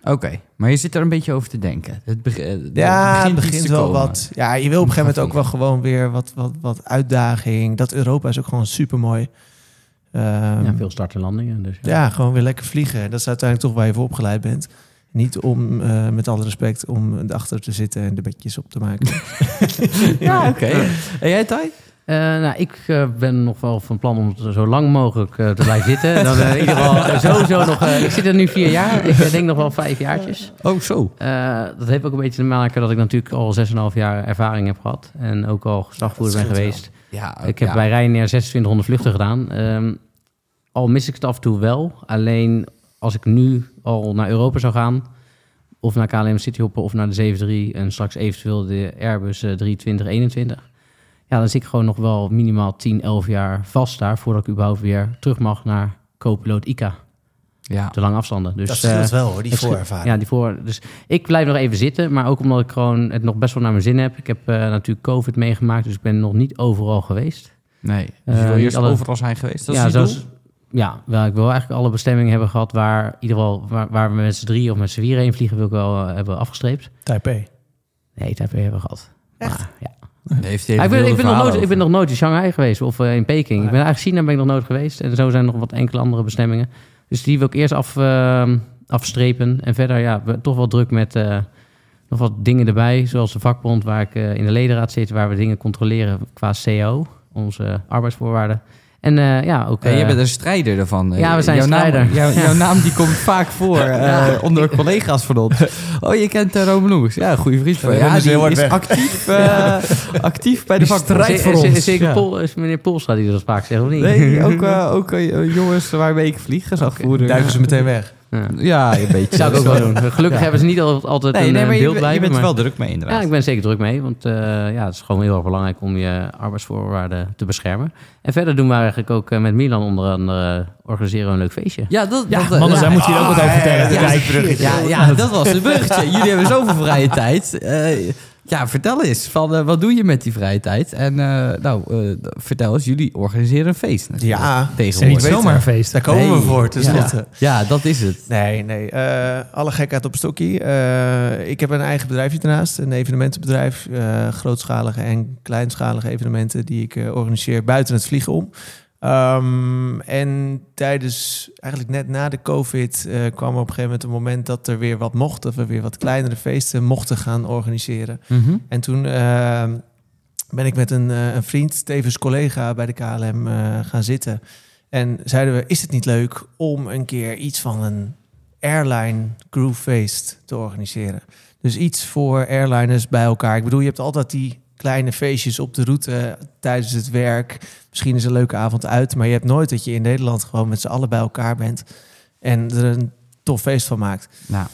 S4: Oké, maar je zit er een beetje over te denken. Het beg- eh, het
S5: Ja, het
S4: iets
S5: begint
S4: te
S5: wel
S4: komen.
S5: wat. Ja, je wil op een gegeven moment ook wel gewoon weer wat, wat, wat uitdaging. Dat Europa is ook gewoon super mooi.
S6: Ja, veel start en landingen. Dus,
S5: Ja, gewoon weer lekker vliegen. Dat is uiteindelijk toch waar je voor opgeleid bent. Niet om, eh, met alle respect, om erachter te zitten en de bedjes op te maken.
S4: Ja, oké. En jij, Thij?
S6: Eh, nou, ik eh, ben nog wel van plan om zo lang mogelijk eh, te blijven zitten. Dan, eh, in ieder geval sowieso nog... eh, ik zit er nu vier jaar. Ik eh, denk nog wel vijf jaartjes.
S4: Oh, zo.
S6: Eh, dat heeft ook een beetje te maken dat ik natuurlijk al 6,5 jaar ervaring heb gehad. En ook al geslagvoerder ben geweest.
S4: Ja,
S6: Ik heb
S4: ja.
S6: bij Ryanair 2600 vluchten gedaan. Ehm, al mis ik het af en toe wel. Alleen als ik nu al naar Europa zou gaan... of naar KLM Cityhoppen of naar de 73... en straks eventueel de Airbus eh, 320-21... ja, dan zit ik gewoon nog wel minimaal 10, 11 jaar vast daar... voordat ik überhaupt weer terug mag naar co-piloot ICA.
S4: Ja.
S6: De lange afstanden. Dus,
S5: dat scheelt
S6: eh,
S5: wel hoor, die
S6: het scheelt-
S5: voorervaring.
S6: ja, die voor. Dus ik blijf nog even zitten, maar ook omdat ik gewoon het nog best wel naar mijn zin heb. Ik heb eh, natuurlijk COVID meegemaakt, dus ik ben nog niet overal geweest.
S4: Nee, dus
S6: Eh,
S4: je wil
S6: niet
S4: eerst
S6: alle-
S4: overal zijn geweest. Dat
S6: ja,
S4: is je
S6: zoals-
S4: doel?
S6: Ja, wel, ik wil eigenlijk alle bestemmingen hebben gehad waar, in ieder geval, waar, waar we met z'n drie of met z'n vier heen vliegen, wil ik wel eh, hebben afgestreept.
S5: Taipei.
S6: Nee, daar hebben we gehad. Maar, ja.
S4: Nee, heeft hij
S6: Ah, ik,
S4: even wilde
S6: ben, ik, ben nog
S4: verhalen
S6: nooit, ik ben
S4: over.
S6: nog nooit in Shanghai geweest of eh, in Peking. Ik ben eigenlijk China ben ik nog nooit geweest. En zo zijn er nog wat enkele andere bestemmingen. Dus die wil ik eerst af, ehm, afstrepen. En verder, ja, we- toch wel druk met eh, nog wat dingen erbij. Zoals de vakbond waar ik eh, in de ledenraad zit, waar we dingen controleren qua CO, onze arbeidsvoorwaarden. En eh, ja, ook.
S4: Eh,
S6: eh,
S4: jij bent een strijder ervan.
S6: Ja, we zijn
S4: jouw Naam,
S6: strijder.
S4: jouw, jouw naam die komt vaak voor eh, onder collega's van ons. Oh, je kent uh, Rome Noeks. Ja, goede vriend van je.
S5: Rome
S4: Ja,
S5: is heel
S4: die
S5: hard
S4: is
S5: weg.
S4: actief, eh, actief bij de
S3: Die
S4: vakbond.
S3: strijdt
S6: is-
S3: voor
S6: is-
S3: ons.
S6: is zeker
S3: Ja.
S6: Pol- is meneer Polstra die dat vaak zegt, of niet?
S4: Nee, ook, eh, ook eh, jongens waarmee ik vlieg, gezagvoerder.
S5: Duiken ze meteen weg.
S6: Ja.
S4: Ja, een beetje.
S6: Zou ik ook wel doen. Gelukkig
S4: Ja.
S6: hebben ze niet al- altijd
S4: Nee,
S6: een
S4: nee,
S6: eh,
S4: maar je,
S6: beeld
S4: je
S6: blijven.
S4: bent er
S6: maar-
S4: wel druk mee inderdaad.
S6: Ja, ik ben er zeker druk mee, want eh, ja, het is gewoon heel erg belangrijk om je arbeidsvoorwaarden te beschermen. En verder doen we eigenlijk ook eh, met Milan onder andere organiseren we een leuk feestje.
S4: Ja, dat,
S3: Ja,
S4: dat,
S3: mannen,
S4: ja.
S3: zij moeten hier ook wat over vertellen.
S4: ja,
S3: Kijk.
S4: Ja, ja, dat was het bruggetje. Jullie hebben zoveel vrije tijd. Eh, ja, vertel eens. Van, eh, wat doe je met die vrije tijd? En eh, nou, eh, vertel eens. Jullie organiseren een feest. natuurlijk,
S5: Ja,
S3: Het is niet
S4: tegenwoordig.
S5: Beter.
S3: zomaar een feest.
S5: Daar komen we
S4: Nee.
S5: voor, dus
S4: ja.
S5: dat, eh,
S4: ja, dat is het.
S5: Nee, nee. eh, alle gekheid op een stokje. Eh, ik heb een eigen bedrijfje daarnaast. Een evenementenbedrijf. eh, grootschalige en kleinschalige evenementen die ik eh, organiseer buiten het vliegen om. Ehm, en tijdens, eigenlijk net na de COVID, eh, kwam er op een gegeven moment een moment dat er weer wat mocht. Dat we weer wat kleinere feesten mochten gaan organiseren.
S6: Mhm.
S5: En toen eh, ben ik met een, eh, een vriend, tevens collega bij de KLM, eh, gaan zitten. En zeiden we, is het niet leuk om een keer iets van een airline crewfeest te organiseren? Dus iets voor airliners bij elkaar. Ik bedoel, je hebt altijd die kleine feestjes op de route eh, tijdens het werk. Misschien is een leuke avond uit, maar je hebt nooit dat je in Nederland gewoon met z'n allen bij elkaar bent en er een tof feest van maakt.
S4: Nou,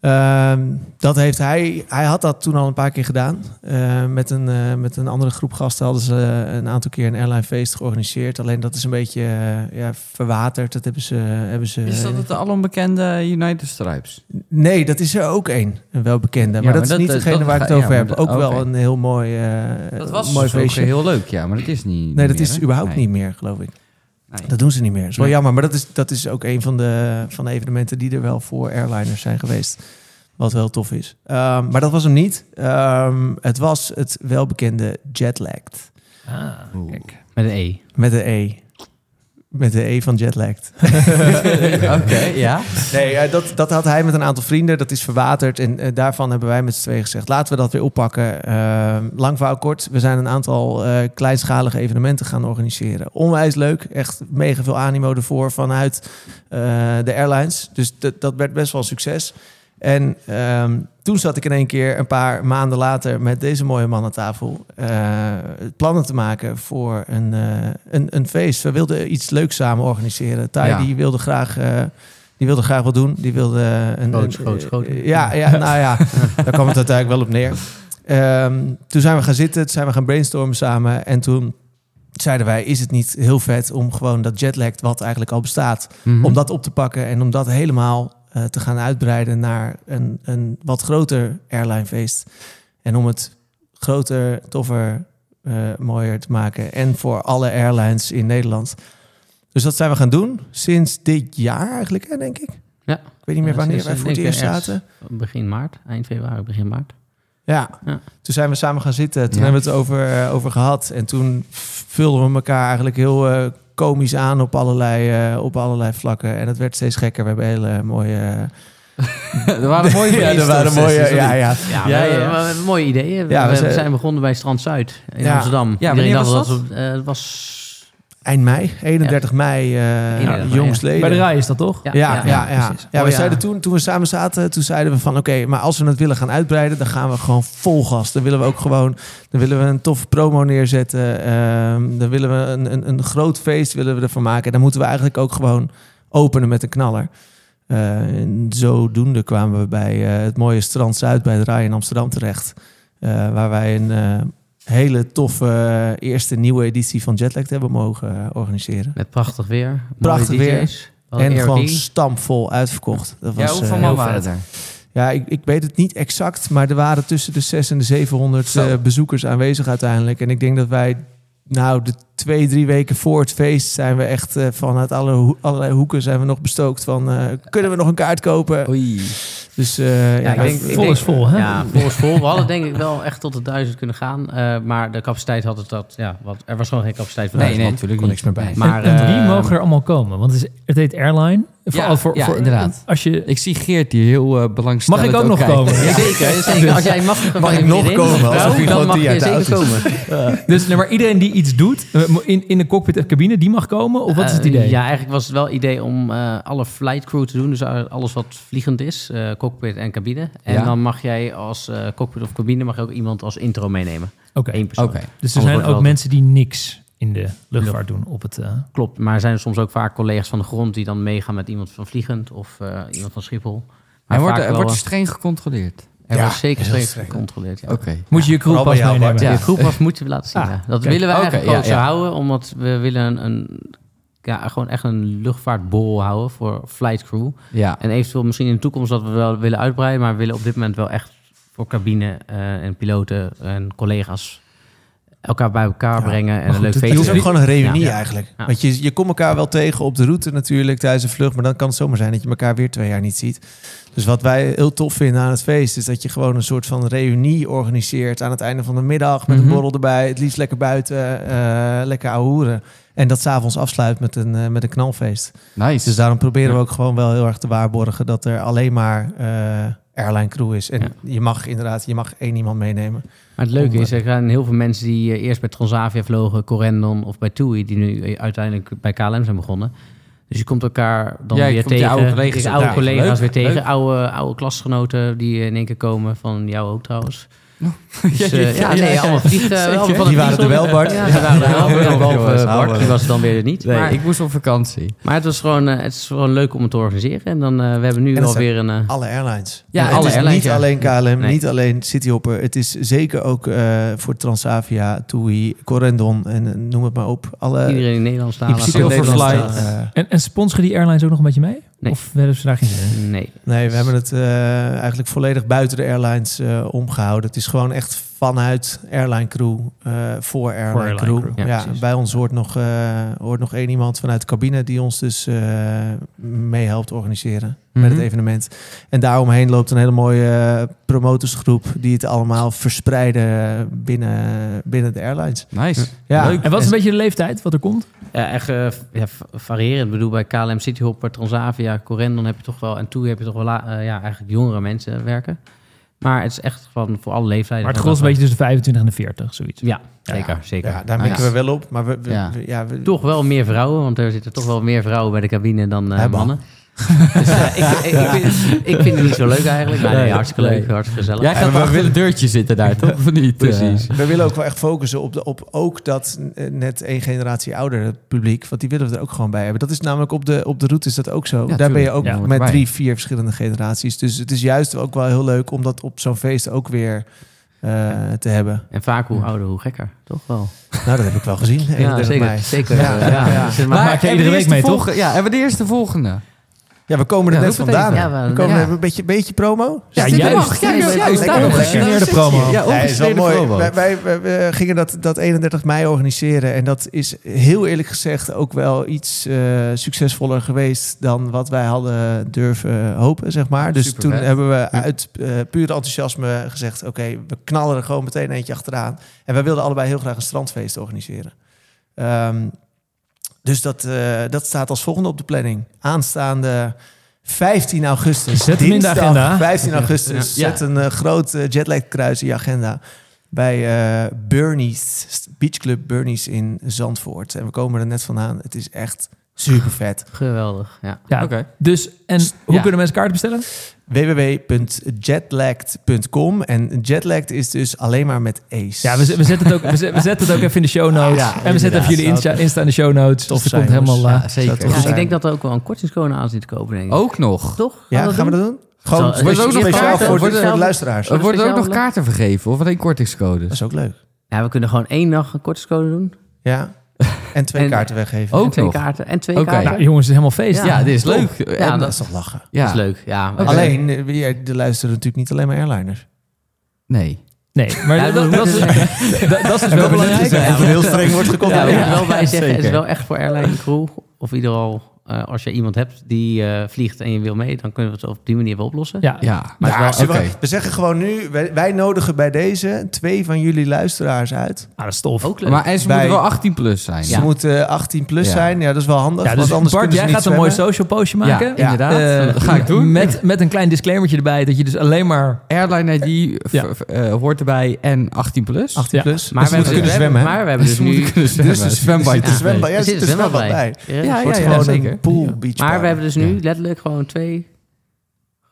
S5: Ehm, dat heeft hij, hij had dat toen al een paar keer gedaan. Eh, met, een, eh, met een andere groep gasten hadden ze eh, een aantal keer een airline feest georganiseerd. Alleen dat is een beetje eh, ja, verwaterd. Dat hebben ze, hebben ze.
S4: is dat het alombekende United Stripes?
S5: Nee, dat is er ook één. Een welbekende. Maar
S4: maar
S5: dat,
S4: dat-
S5: is niet
S4: dat-
S5: degene
S4: dat
S5: waar ik
S4: ga-
S5: het over
S4: ja,
S5: heb.
S4: maar
S5: Ook
S4: dat-
S5: wel
S4: oké.
S5: een heel mooi, eh,
S4: Dat was
S5: mooi
S4: dus ook
S5: feestje.
S4: heel leuk, ja. Maar dat is niet
S5: Nee, dat
S4: meer,
S5: is
S4: hè?
S5: überhaupt
S4: Nee.
S5: niet meer, geloof ik.
S4: Nee.
S5: Dat doen ze niet meer. Dat is wel
S4: Nee.
S5: jammer. Maar dat is, dat is ook een van de, van de evenementen die er wel voor airliners zijn geweest. Wat wel tof is. Ehm, maar dat was hem niet. Ehm, het was het welbekende jetlagged.
S3: Ah, kijk.
S6: Met een E.
S5: Met de E. Met de E van jetlagged.
S4: Oké, ja.
S5: Nee, eh, dat, dat had hij met een aantal vrienden. Dat is verwaterd. En eh, daarvan hebben wij met z'n tweeën gezegd... laten we dat weer oppakken. Ehm, lang verhaal kort. We zijn een aantal eh, kleinschalige evenementen gaan organiseren. Onwijs leuk. Echt mega veel animo ervoor vanuit eh, de airlines. Dus dat- dat werd best wel een succes. En ehm, toen zat ik in één keer een paar maanden later... met deze mooie man aan tafel... eh, plannen te maken voor een, eh, een, een feest. We wilden iets leuks samen organiseren. Tai
S4: Ja.
S5: die wilde graag... eh, die wilde graag wat doen. Die wilde eh, een...
S6: Groot,
S5: een-
S6: groot, groot.
S5: Ja, ja, nou ja, daar kwam het uiteindelijk wel op neer. Ehm, toen zijn we gaan zitten, toen zijn we gaan brainstormen samen. En toen zeiden wij, is het niet heel vet om gewoon dat jetlag... wat eigenlijk al bestaat, om dat op te pakken... en om dat helemaal eh, te gaan uitbreiden naar een, een wat groter airlinefeest. En om het groter, toffer, eh, mooier te maken. En voor alle airlines in Nederland. Dus dat zijn we gaan doen sinds dit jaar eigenlijk, hè, denk ik.
S6: Ja.
S5: Ik weet niet meer
S6: Ja,
S5: wanneer
S6: sinds,
S5: wij
S6: eh,
S5: voor het
S6: denk ik
S5: eerst
S6: ergens
S5: zaten.
S6: Begin maart, eind februari, begin maart.
S5: Ja.
S6: Ja.
S5: toen zijn we samen gaan zitten. Toen
S4: Ja.
S5: hebben we het over, eh, over gehad. En toen vulden we elkaar eigenlijk heel eh, komisch aan op allerlei, eh, op allerlei vlakken. En het werd steeds gekker. We hebben hele mooie...
S4: er waren mooie
S5: ja, er waren mooie...
S4: feestsessies,
S5: Ja,
S4: of niet?
S5: ja.
S6: Ja,
S4: Ja,
S6: we-
S4: ja.
S6: we- we- mooie ideeën. We-
S5: Ja, we
S6: we,
S5: zijn-
S6: zijn begonnen bij Strand Zuid in
S5: Ja.
S6: Amsterdam.
S4: Ja,
S6: Iedereen
S4: wanneer
S6: dacht
S4: was
S6: we- eh, het was...
S5: Eind mei, 31 mei, eh
S6: 31 mei,
S5: jongstleden.
S3: Bij de rij is dat toch?
S5: Ja, ja, ja. ja,
S3: precies.
S5: we
S6: Oh, ja.
S5: zeiden toen, toen we samen zaten, toen zeiden we van... oké, maar als we het willen gaan uitbreiden, dan gaan we gewoon vol gas. Dan willen we ook gewoon... dan willen we een toffe promo neerzetten. ehm, dan willen we een, een, een groot feest willen we ervan maken. En dan moeten we eigenlijk ook gewoon openen met een knaller. Eh, en zodoende kwamen we bij eh, het mooie Strand Zuid bij het Rai in Amsterdam terecht. eh, waar wij een eh, hele toffe eh, eerste nieuwe editie van Jetlag hebben mogen eh, organiseren.
S6: Met prachtig weer. mooie
S5: Prachtig weer.
S6: DJ's, wel
S5: En
S6: Airbnb.
S5: gewoon stampvol uitverkocht. Dat was,
S4: Ja, hoeveel
S5: eh,
S4: man
S5: heel
S4: waren het
S5: vet.
S4: er?
S5: Ja, ik, ik weet het niet exact, maar er waren tussen de 600 en de 700
S4: Zo.
S5: eh, bezoekers aanwezig uiteindelijk. En ik denk dat wij, nou, de twee, drie weken voor het feest zijn we echt eh, vanuit alle ho- allerlei hoeken zijn we nog bestookt van, eh, kunnen we nog een kaart kopen?
S4: Oei.
S5: Dus eh, ja,
S6: Ja, ik denk, ik
S3: Vol
S6: denk-
S3: is vol, hè?
S6: Ja, vol is vol. We hadden denk ik wel echt tot de duizend kunnen gaan. eh, maar de capaciteit had het dat... Ja, wat, er was gewoon geen capaciteit voor
S4: Nee, nee,
S6: duizend man.
S4: natuurlijk
S5: kon
S4: niet.
S5: niks meer bij.
S4: Nee.
S6: Maar,
S3: en, en wie
S6: eh,
S3: mogen er allemaal komen? Want het, is, het heet airline. Vooral voor,
S4: ja,
S3: voor-
S4: inderdaad.
S3: Als je,
S4: Ik zie Geert die heel eh belangstellend
S3: Mag ik ook nog
S4: kijkt.
S3: komen?
S4: Ja.
S6: Zeker, zeker. Als jij mag, van
S5: Mag ik
S6: je
S5: nog
S6: vriendin,
S5: komen?
S6: vrouw,
S5: Alsof je gewoon
S6: Dan mag
S5: tien jaar
S6: je
S5: te oud
S6: zeker
S5: is.
S6: komen.
S3: dus nee, maar iedereen die iets doet, eh, mo- in, in de cockpit en cabine, die mag komen? Of wat is het
S6: Eh,
S3: idee?
S6: ja, eigenlijk was het wel het idee om eh, alle flight crew te doen. Dus a- alles wat vliegend is, eh, cockpit en cabine. En
S4: Ja.
S6: dan mag jij als eh, cockpit of cabine mag je ook iemand als intro meenemen.
S3: Oké.
S6: Eén persoon.
S4: Oké.
S3: Dus er
S6: Anders
S3: zijn
S6: wordt
S3: ook
S6: wel-
S3: mensen die niks in de luchtvaart doen op het... eh,
S6: Klopt, maar er zijn soms ook vaak collega's van de grond die dan meegaan met iemand van Vliegend of eh, iemand van Schiphol. Maar
S4: En wordt,
S6: vaak
S4: er
S6: wel- eh,
S4: wordt streng gecontroleerd.
S6: er
S5: Ja,
S6: wordt zeker
S5: heel
S6: streng
S5: streng.
S6: gecontroleerd. Ja.
S4: Oké.
S3: moet je je
S5: Vooral bij
S3: kroelpas
S5: jou,
S3: meenemen.
S6: De
S4: Ja.
S6: groep af moeten we laten zien.
S3: Ah,
S6: ja. Dat
S4: kijk.
S6: willen we
S4: Oké,
S6: eigenlijk
S4: ja,
S6: ook zo
S4: ja.
S6: houden, omdat we willen een, een, ja, gewoon echt een luchtvaartborrel houden voor flight crew.
S4: Ja.
S6: En eventueel misschien in de toekomst dat we wel willen uitbreiden, maar we willen op dit moment wel echt voor cabine eh, en piloten en collega's elkaar bij elkaar
S5: Ja,
S6: brengen en een leuk
S5: Het is
S6: feestje.
S5: ook gewoon een reunie
S6: Ja.
S5: eigenlijk.
S6: Ja.
S5: Want je, je komt elkaar wel tegen op de route natuurlijk tijdens een vlucht. Maar dan kan het zomaar zijn dat je elkaar weer twee jaar niet ziet. Dus wat wij heel tof vinden aan het feest... is dat je gewoon een soort van reunie organiseert aan het einde van de middag. Met
S4: Mhm.
S5: een borrel erbij. Het liefst lekker buiten. eh, lekker ahoeren. En dat s'avonds afsluit met een, eh, met een knalfeest.
S4: Nice.
S5: Dus daarom proberen we ook gewoon wel heel erg te waarborgen... dat er alleen maar eh airline crew is. En
S6: Ja.
S5: je mag inderdaad je mag één iemand meenemen.
S6: Maar het leuke is, er gaan heel veel mensen die eh, eerst bij Transavia vlogen, Corendon of bij TUI, die nu eh, uiteindelijk bij KLM zijn begonnen. Dus je komt elkaar dan
S4: Ja, je
S6: weer
S4: komt je
S6: tegen.
S4: oude collega's
S6: je oude
S4: ook tegen.
S6: collega's
S4: Leuk,
S6: weer
S4: leuk.
S6: tegen. Oude, oude klasgenoten die eh, in één keer komen. Van jou ook trouwens. Dus, eh, ja, nee, allemaal vliegt. eh, allemaal van het
S5: Die waren er
S6: vliegtuig.
S5: wel, Bart.
S6: Ja, die waren er wel.
S4: Ja,
S6: behalve
S4: jongens, hou
S6: Bart,
S4: maar.
S6: die was er dan weer niet.
S4: Nee,
S6: maar,
S4: ik moest op vakantie.
S6: maar het, was gewoon, eh, het is gewoon leuk om het te organiseren. En dan, eh, we hebben nu
S5: En dat
S6: alweer een... eh,
S5: Alle airlines.
S6: Ja,
S5: het
S6: alle
S5: is
S6: airlines,
S5: niet
S6: ja.
S5: alleen KLM,
S6: Nee.
S5: niet alleen Cityhopper. Het is zeker ook eh, voor Transavia, TUI, Corendon en eh, noem het maar op. Alle
S6: iedereen in Nederland staan.
S3: in principe
S6: laten we
S3: Silverfly.
S6: Nederland
S5: Nederlandse, eh,
S3: En, en sponsoren die airlines ook nog een beetje mee?
S6: Nee.
S3: Of hebben ze daar geen zin in?
S6: staan. Nee.
S5: nee, we hebben het eh, eigenlijk volledig buiten de airlines eh, omgehouden. Het is gewoon echt vanuit airline crew eh, voor airline,
S3: airline
S5: crew.
S3: crew,
S6: ja,
S5: Ja,
S6: precies.
S5: bij ons hoort nog, eh, hoort nog één iemand vanuit de cabine die ons dus eh, meehelpt organiseren. met het evenement. En daaromheen loopt een hele mooie eh, promotorsgroep die het allemaal verspreiden binnen, binnen de airlines.
S4: Nice.
S5: Ja.
S4: Leuk.
S3: En wat is een beetje de leeftijd wat er komt?
S6: Ja, echt eh, ja, va- variërend. Ik bedoel, bij KLM Cityhopper, Transavia, Corendon heb je toch wel... en TUI heb je toch wel la- eh, ja, eigenlijk jongere mensen werken. Maar het is echt van voor alle leeftijden.
S3: Maar het gros een beetje tussen de 25 en de 40, zoiets.
S6: Ja, zeker, zeker.
S5: Ja,
S3: Ah,
S5: daar mikken
S4: Ja.
S5: we wel op. Maar we, we-
S4: Ja.
S5: we- ja, we-
S6: Toch wel meer vrouwen, want er zitten toch wel meer vrouwen bij de cabine dan eh,
S5: Hè, man?
S6: mannen. dus eh, ik, ik, ik, vind, ik vind het niet zo leuk eigenlijk. Maar nee,
S4: Nee.
S6: hartstikke leuk,
S4: Nee.
S6: hartstikke gezellig.
S4: Jij gaat
S5: we
S4: wel weer een deurtje zitten daar, toch? Of niet? eh?
S6: Precies.
S5: we willen ook wel echt focussen op, de, op ook dat eh, net één generatie ouder publiek. Want die willen we er ook gewoon bij hebben. Dat is namelijk op de, op de route is dat ook zo. daar ben je
S4: tuurlijk.
S5: ook
S4: Ja,
S5: met
S4: erbij.
S5: drie, vier verschillende generaties. Dus het is juist ook wel heel leuk om dat op zo'n feest ook weer eh, te hebben.
S6: En vaak hoe ouder, hoe gekker. Toch wel.
S5: Nou, dat heb ik wel gezien. 31
S6: zeker.
S5: mei.
S6: zeker
S5: Ja,
S6: eh, ja.
S5: ja.
S6: Dus het
S3: Maar
S6: maakt-
S3: maak je iedere
S4: en wanneer
S3: week
S4: is de
S3: mee,
S4: volge- Ja, en wanneer is de volgende?
S5: Ja, we komen er
S4: Ja,
S5: net
S4: roep het
S5: vandaan.
S6: even. Ja, we-
S5: we komen
S4: ja.
S5: er een beetje, beetje promo.
S3: Ja,
S4: Zit er
S3: juist.
S4: nog? Ja, juist,
S5: Ja,
S4: juist.
S5: lekker
S4: Daarom
S5: ongegeneerde
S4: zit je.
S3: promo.
S4: Ja,
S5: Ja, is wel
S4: ongegeneerde
S5: mooi.
S4: promo.
S5: Wij, wij, wij- we gingen dat, dat 31 mei organiseren. En dat is heel eerlijk gezegd ook wel iets eh, succesvoller geweest dan wat wij hadden durven hopen, zeg maar. Dus
S4: Super
S5: toen
S4: vet.
S5: hebben we uit eh, puur enthousiasme gezegd: oké, we knallen er gewoon meteen eentje achteraan. En wij wilden allebei heel graag een strandfeest organiseren. Ehm, dus dat, eh, dat staat als volgende op de planning. Aanstaande 15 augustus.
S3: Zet hem in de
S5: Dinsdag
S3: agenda.
S5: 15 augustus.
S4: Ja.
S5: Zet een eh, groot eh, jetlag kruis in je agenda. Bij eh, Bernie's, Beach Club Bernie's in Zandvoort. En we komen er net vandaan. Het is echt super vet.
S6: Geweldig, ja.
S3: Ja.
S4: Oké.
S3: Dus, en hoe
S6: Ja.
S3: kunnen mensen kaarten bestellen?
S5: www.jetlagged.com. En jetlagged is dus alleen maar met ace.
S3: Ja, we, z- we, zetten het ook, we, z- we zetten het ook even in de show notes.
S5: Ja,
S3: en we zetten
S5: inderdaad.
S3: even jullie Insta, Insta in de show notes.
S5: Tof
S3: Dus het
S5: zijn,
S3: komt helemaal...
S5: jongens.
S3: eh,
S4: Ja, zeker.
S5: Zou toch
S6: Ja,
S5: zijn?
S6: ik denk dat er ook wel een kortingscode aan zit te kopen, denk ik.
S4: Ook nog.
S6: Toch?
S5: Oh. Ja, gaan we dat doen? Gewoon
S6: Zo,
S4: wordt
S5: speciaal
S4: er ook nog
S5: speciaal
S4: kaarten?
S5: voor de,
S4: Wordt Oh. er-
S5: voor de luisteraars.
S4: Er
S5: Dat
S6: Zullen we
S4: worden ook nog
S6: speciaal-
S4: kaarten vergeven of alleen kortingscodes?
S5: is ook leuk.
S6: Ja, we kunnen gewoon één dag een kortingscode doen.
S5: Ja. En Oh, twee
S6: En-
S5: kaarten weggeven.
S6: en
S4: Ook
S6: twee
S4: nog.
S6: kaarten. En twee
S4: Oké.
S6: kaarten.
S3: nou, jongens, het is helemaal feest.
S4: Ja, dit is leuk.
S6: Ja,
S4: En-
S5: dat
S6: dat
S5: is toch lachen.
S4: ja.
S6: is leuk. Ja,
S4: Oké.
S5: Alleen, eh, ja, er luisteren natuurlijk niet alleen maar airliners.
S4: Nee.
S3: Nee, maar
S6: Ja,
S3: dat, dat,
S6: dat
S3: is-
S6: is-
S3: dat- dat is wel belangrijk.
S5: heel streng wordt
S6: Ja,
S5: gecontroleerd.
S6: we moeten er wel bij zeggen, het is
S4: Zeker.
S6: wel echt voor airline crew. Of in ieder geval, eh, als je iemand hebt die eh, vliegt en je wil mee, dan kunnen we het op die manier wel oplossen.
S3: Ja,
S4: Ja.
S5: Maar
S4: Maar
S5: ja,
S4: het is wel-
S5: zullen we-
S4: oké.
S5: we zeggen gewoon nu, wij, wij nodigen bij deze twee van jullie luisteraars uit.
S3: Ah, dat is tof.
S6: Ook leuk.
S4: Maar en ze
S5: Bij-
S4: moeten wel 18 plus zijn.
S5: Ze moeten 18 plus
S4: Ja.
S5: zijn. Ja, dat is wel handig.
S3: Ja, dus
S5: want anders
S3: Bart,
S5: kunnen
S3: jij
S5: ze
S3: gaat
S5: niet
S3: een mooi
S5: zwemmen.
S3: social postje
S4: Ja,
S3: maken.
S4: inderdaad.
S3: Eh,
S4: Dat ga ik doen.
S3: Met, met een klein disclaimertje erbij dat je dus alleen maar...
S4: Airline ID v-
S3: Ja.
S4: v- eh, hoort erbij en 18 plus.
S5: 18
S3: Ja.
S5: plus.
S6: Maar
S5: Maar ze moeten kunnen
S6: we hebben-
S5: zwemmen. hè?
S6: Maar we hebben
S4: dus
S6: dus
S4: moeten
S6: nu...
S4: kunnen zwemmen.
S5: Dus-
S4: Zwembadje.
S5: dus- dus- zwembad. Ja,
S6: er zit
S5: er
S6: een
S5: zit wel
S6: zwembad bij. Ja.
S4: Ja,
S5: wordt
S4: ja,
S5: gewoon
S4: zeker.
S5: een pool beach
S6: Maar we
S5: party.
S6: hebben dus nu letterlijk gewoon twee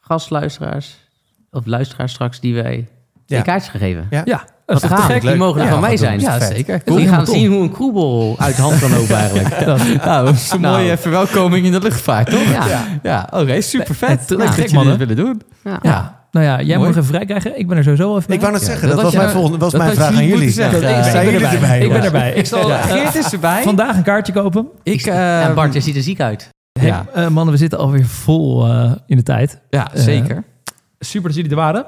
S6: gastluisteraars, of luisteraars straks, die wij
S5: Ja.
S6: een kaartje gegeven.
S5: Ja.
S3: Ja, oké. dat is
S6: Wat
S3: toch te
S6: gaaf,
S3: gek?
S6: die mogen er
S4: Ja,
S6: van mij
S4: wat
S6: zijn.
S4: doen.
S6: Ja,
S4: Ja,
S6: vet.
S4: zeker.
S6: Die gaan zien hoe een kroebel uit de hand kan lopen eigenlijk.
S4: Nou, dat is een
S6: Nou.
S4: mooie verwelkoming in de luchtvaart, toch?
S6: Ja.
S4: Ja, oké, super vet.
S3: Ja, gek,
S4: Leuk dat jullie
S3: mannen.
S4: dit willen doen.
S6: Ja.
S4: Ja,
S3: Nou ja, jij
S4: Mooi.
S3: moet nog even vrij krijgen. Ik ben er sowieso wel even
S5: Ik
S3: bij.
S5: wou net zeggen,
S4: dat
S5: dat,
S4: had
S5: was
S4: je-
S5: mijn, volgende, was
S4: dat
S5: mijn
S4: had
S5: vraag
S4: je
S5: aan
S4: niet
S5: jullie.
S4: moeten zeggen.
S5: Ja,
S4: Ik- ik
S5: zijn
S4: ben
S5: jullie
S4: erbij.
S5: erbij?
S3: Ik ben
S5: jongens?
S3: erbij. Ik zal eh,
S4: Geert is erbij.
S3: vandaag een kaartje kopen.
S4: ik,
S6: Ja,
S4: eh,
S6: Bart, je ziet er ziek uit.
S4: ja,
S3: Hey, eh, mannen, we zitten alweer vol eh, in de tijd.
S4: ja,
S3: eh,
S4: zeker.
S3: Super dat jullie er waren.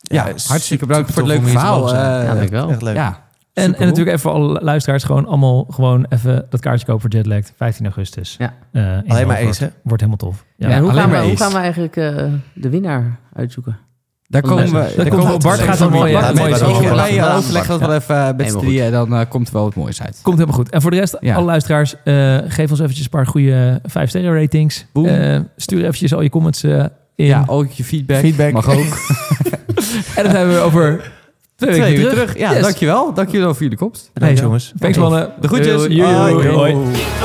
S4: ja,
S5: is
S4: hartstikke
S5: super
S4: bedankt voor
S5: tof
S4: het
S5: om
S4: leuke
S5: hier te
S4: verhaal.
S5: mogen zijn.
S4: eh,
S6: Ja, denk ik wel.
S5: Echt leuk.
S4: ja.
S3: En, en
S4: Supercool.
S3: natuurlijk even voor alle luisteraars gewoon allemaal gewoon even dat kaartje kopen voor Jetlagged. 15 augustus.
S6: Ja.
S3: Eh, in
S5: Alleen maar
S3: Zandvoort.
S5: eens, hè?
S3: Wordt helemaal tof. Ja.
S6: Ja, en hoe
S4: alleen
S6: gaan, we,
S4: maar
S6: hoe
S4: eens.
S6: gaan we eigenlijk eh, de winnaar uitzoeken?
S4: Daar
S6: Dat
S4: komen we.
S6: komt
S4: daar
S3: later.
S4: komen we-
S3: Dat
S4: Bart
S3: komt
S4: gaat
S3: later.
S4: een mooie.
S3: Dat
S4: Laten
S3: komt
S4: we
S3: later.
S4: even
S3: Dat
S4: over
S3: komt
S4: mij
S6: later.
S4: overleggen dat we even eh, met z'n
S6: Helemaal
S4: drieën. en Dan eh, komt er wel wat moois uit.
S3: Komt helemaal goed. En voor de rest,
S4: Ja.
S3: alle luisteraars, eh, geef ons eventjes een paar goede 5 sterren ratings.
S4: Boem.
S3: Eh, stuur eventjes al je comments eh, in.
S4: Ja, ook je feedback.
S5: Feedback.
S4: Mag ook.
S3: En dan zijn we over twee weken
S4: Twee uur
S3: terug.
S4: terug. Ja,
S3: Yes.
S4: dankjewel. Dankjewel voor jullie komst.
S5: Bedankt,
S3: Hey,
S5: jongens.
S3: Thanks mannen.
S4: De groetjes.
S3: Doei. Doei.
S4: Hoi.
S3: Hoi.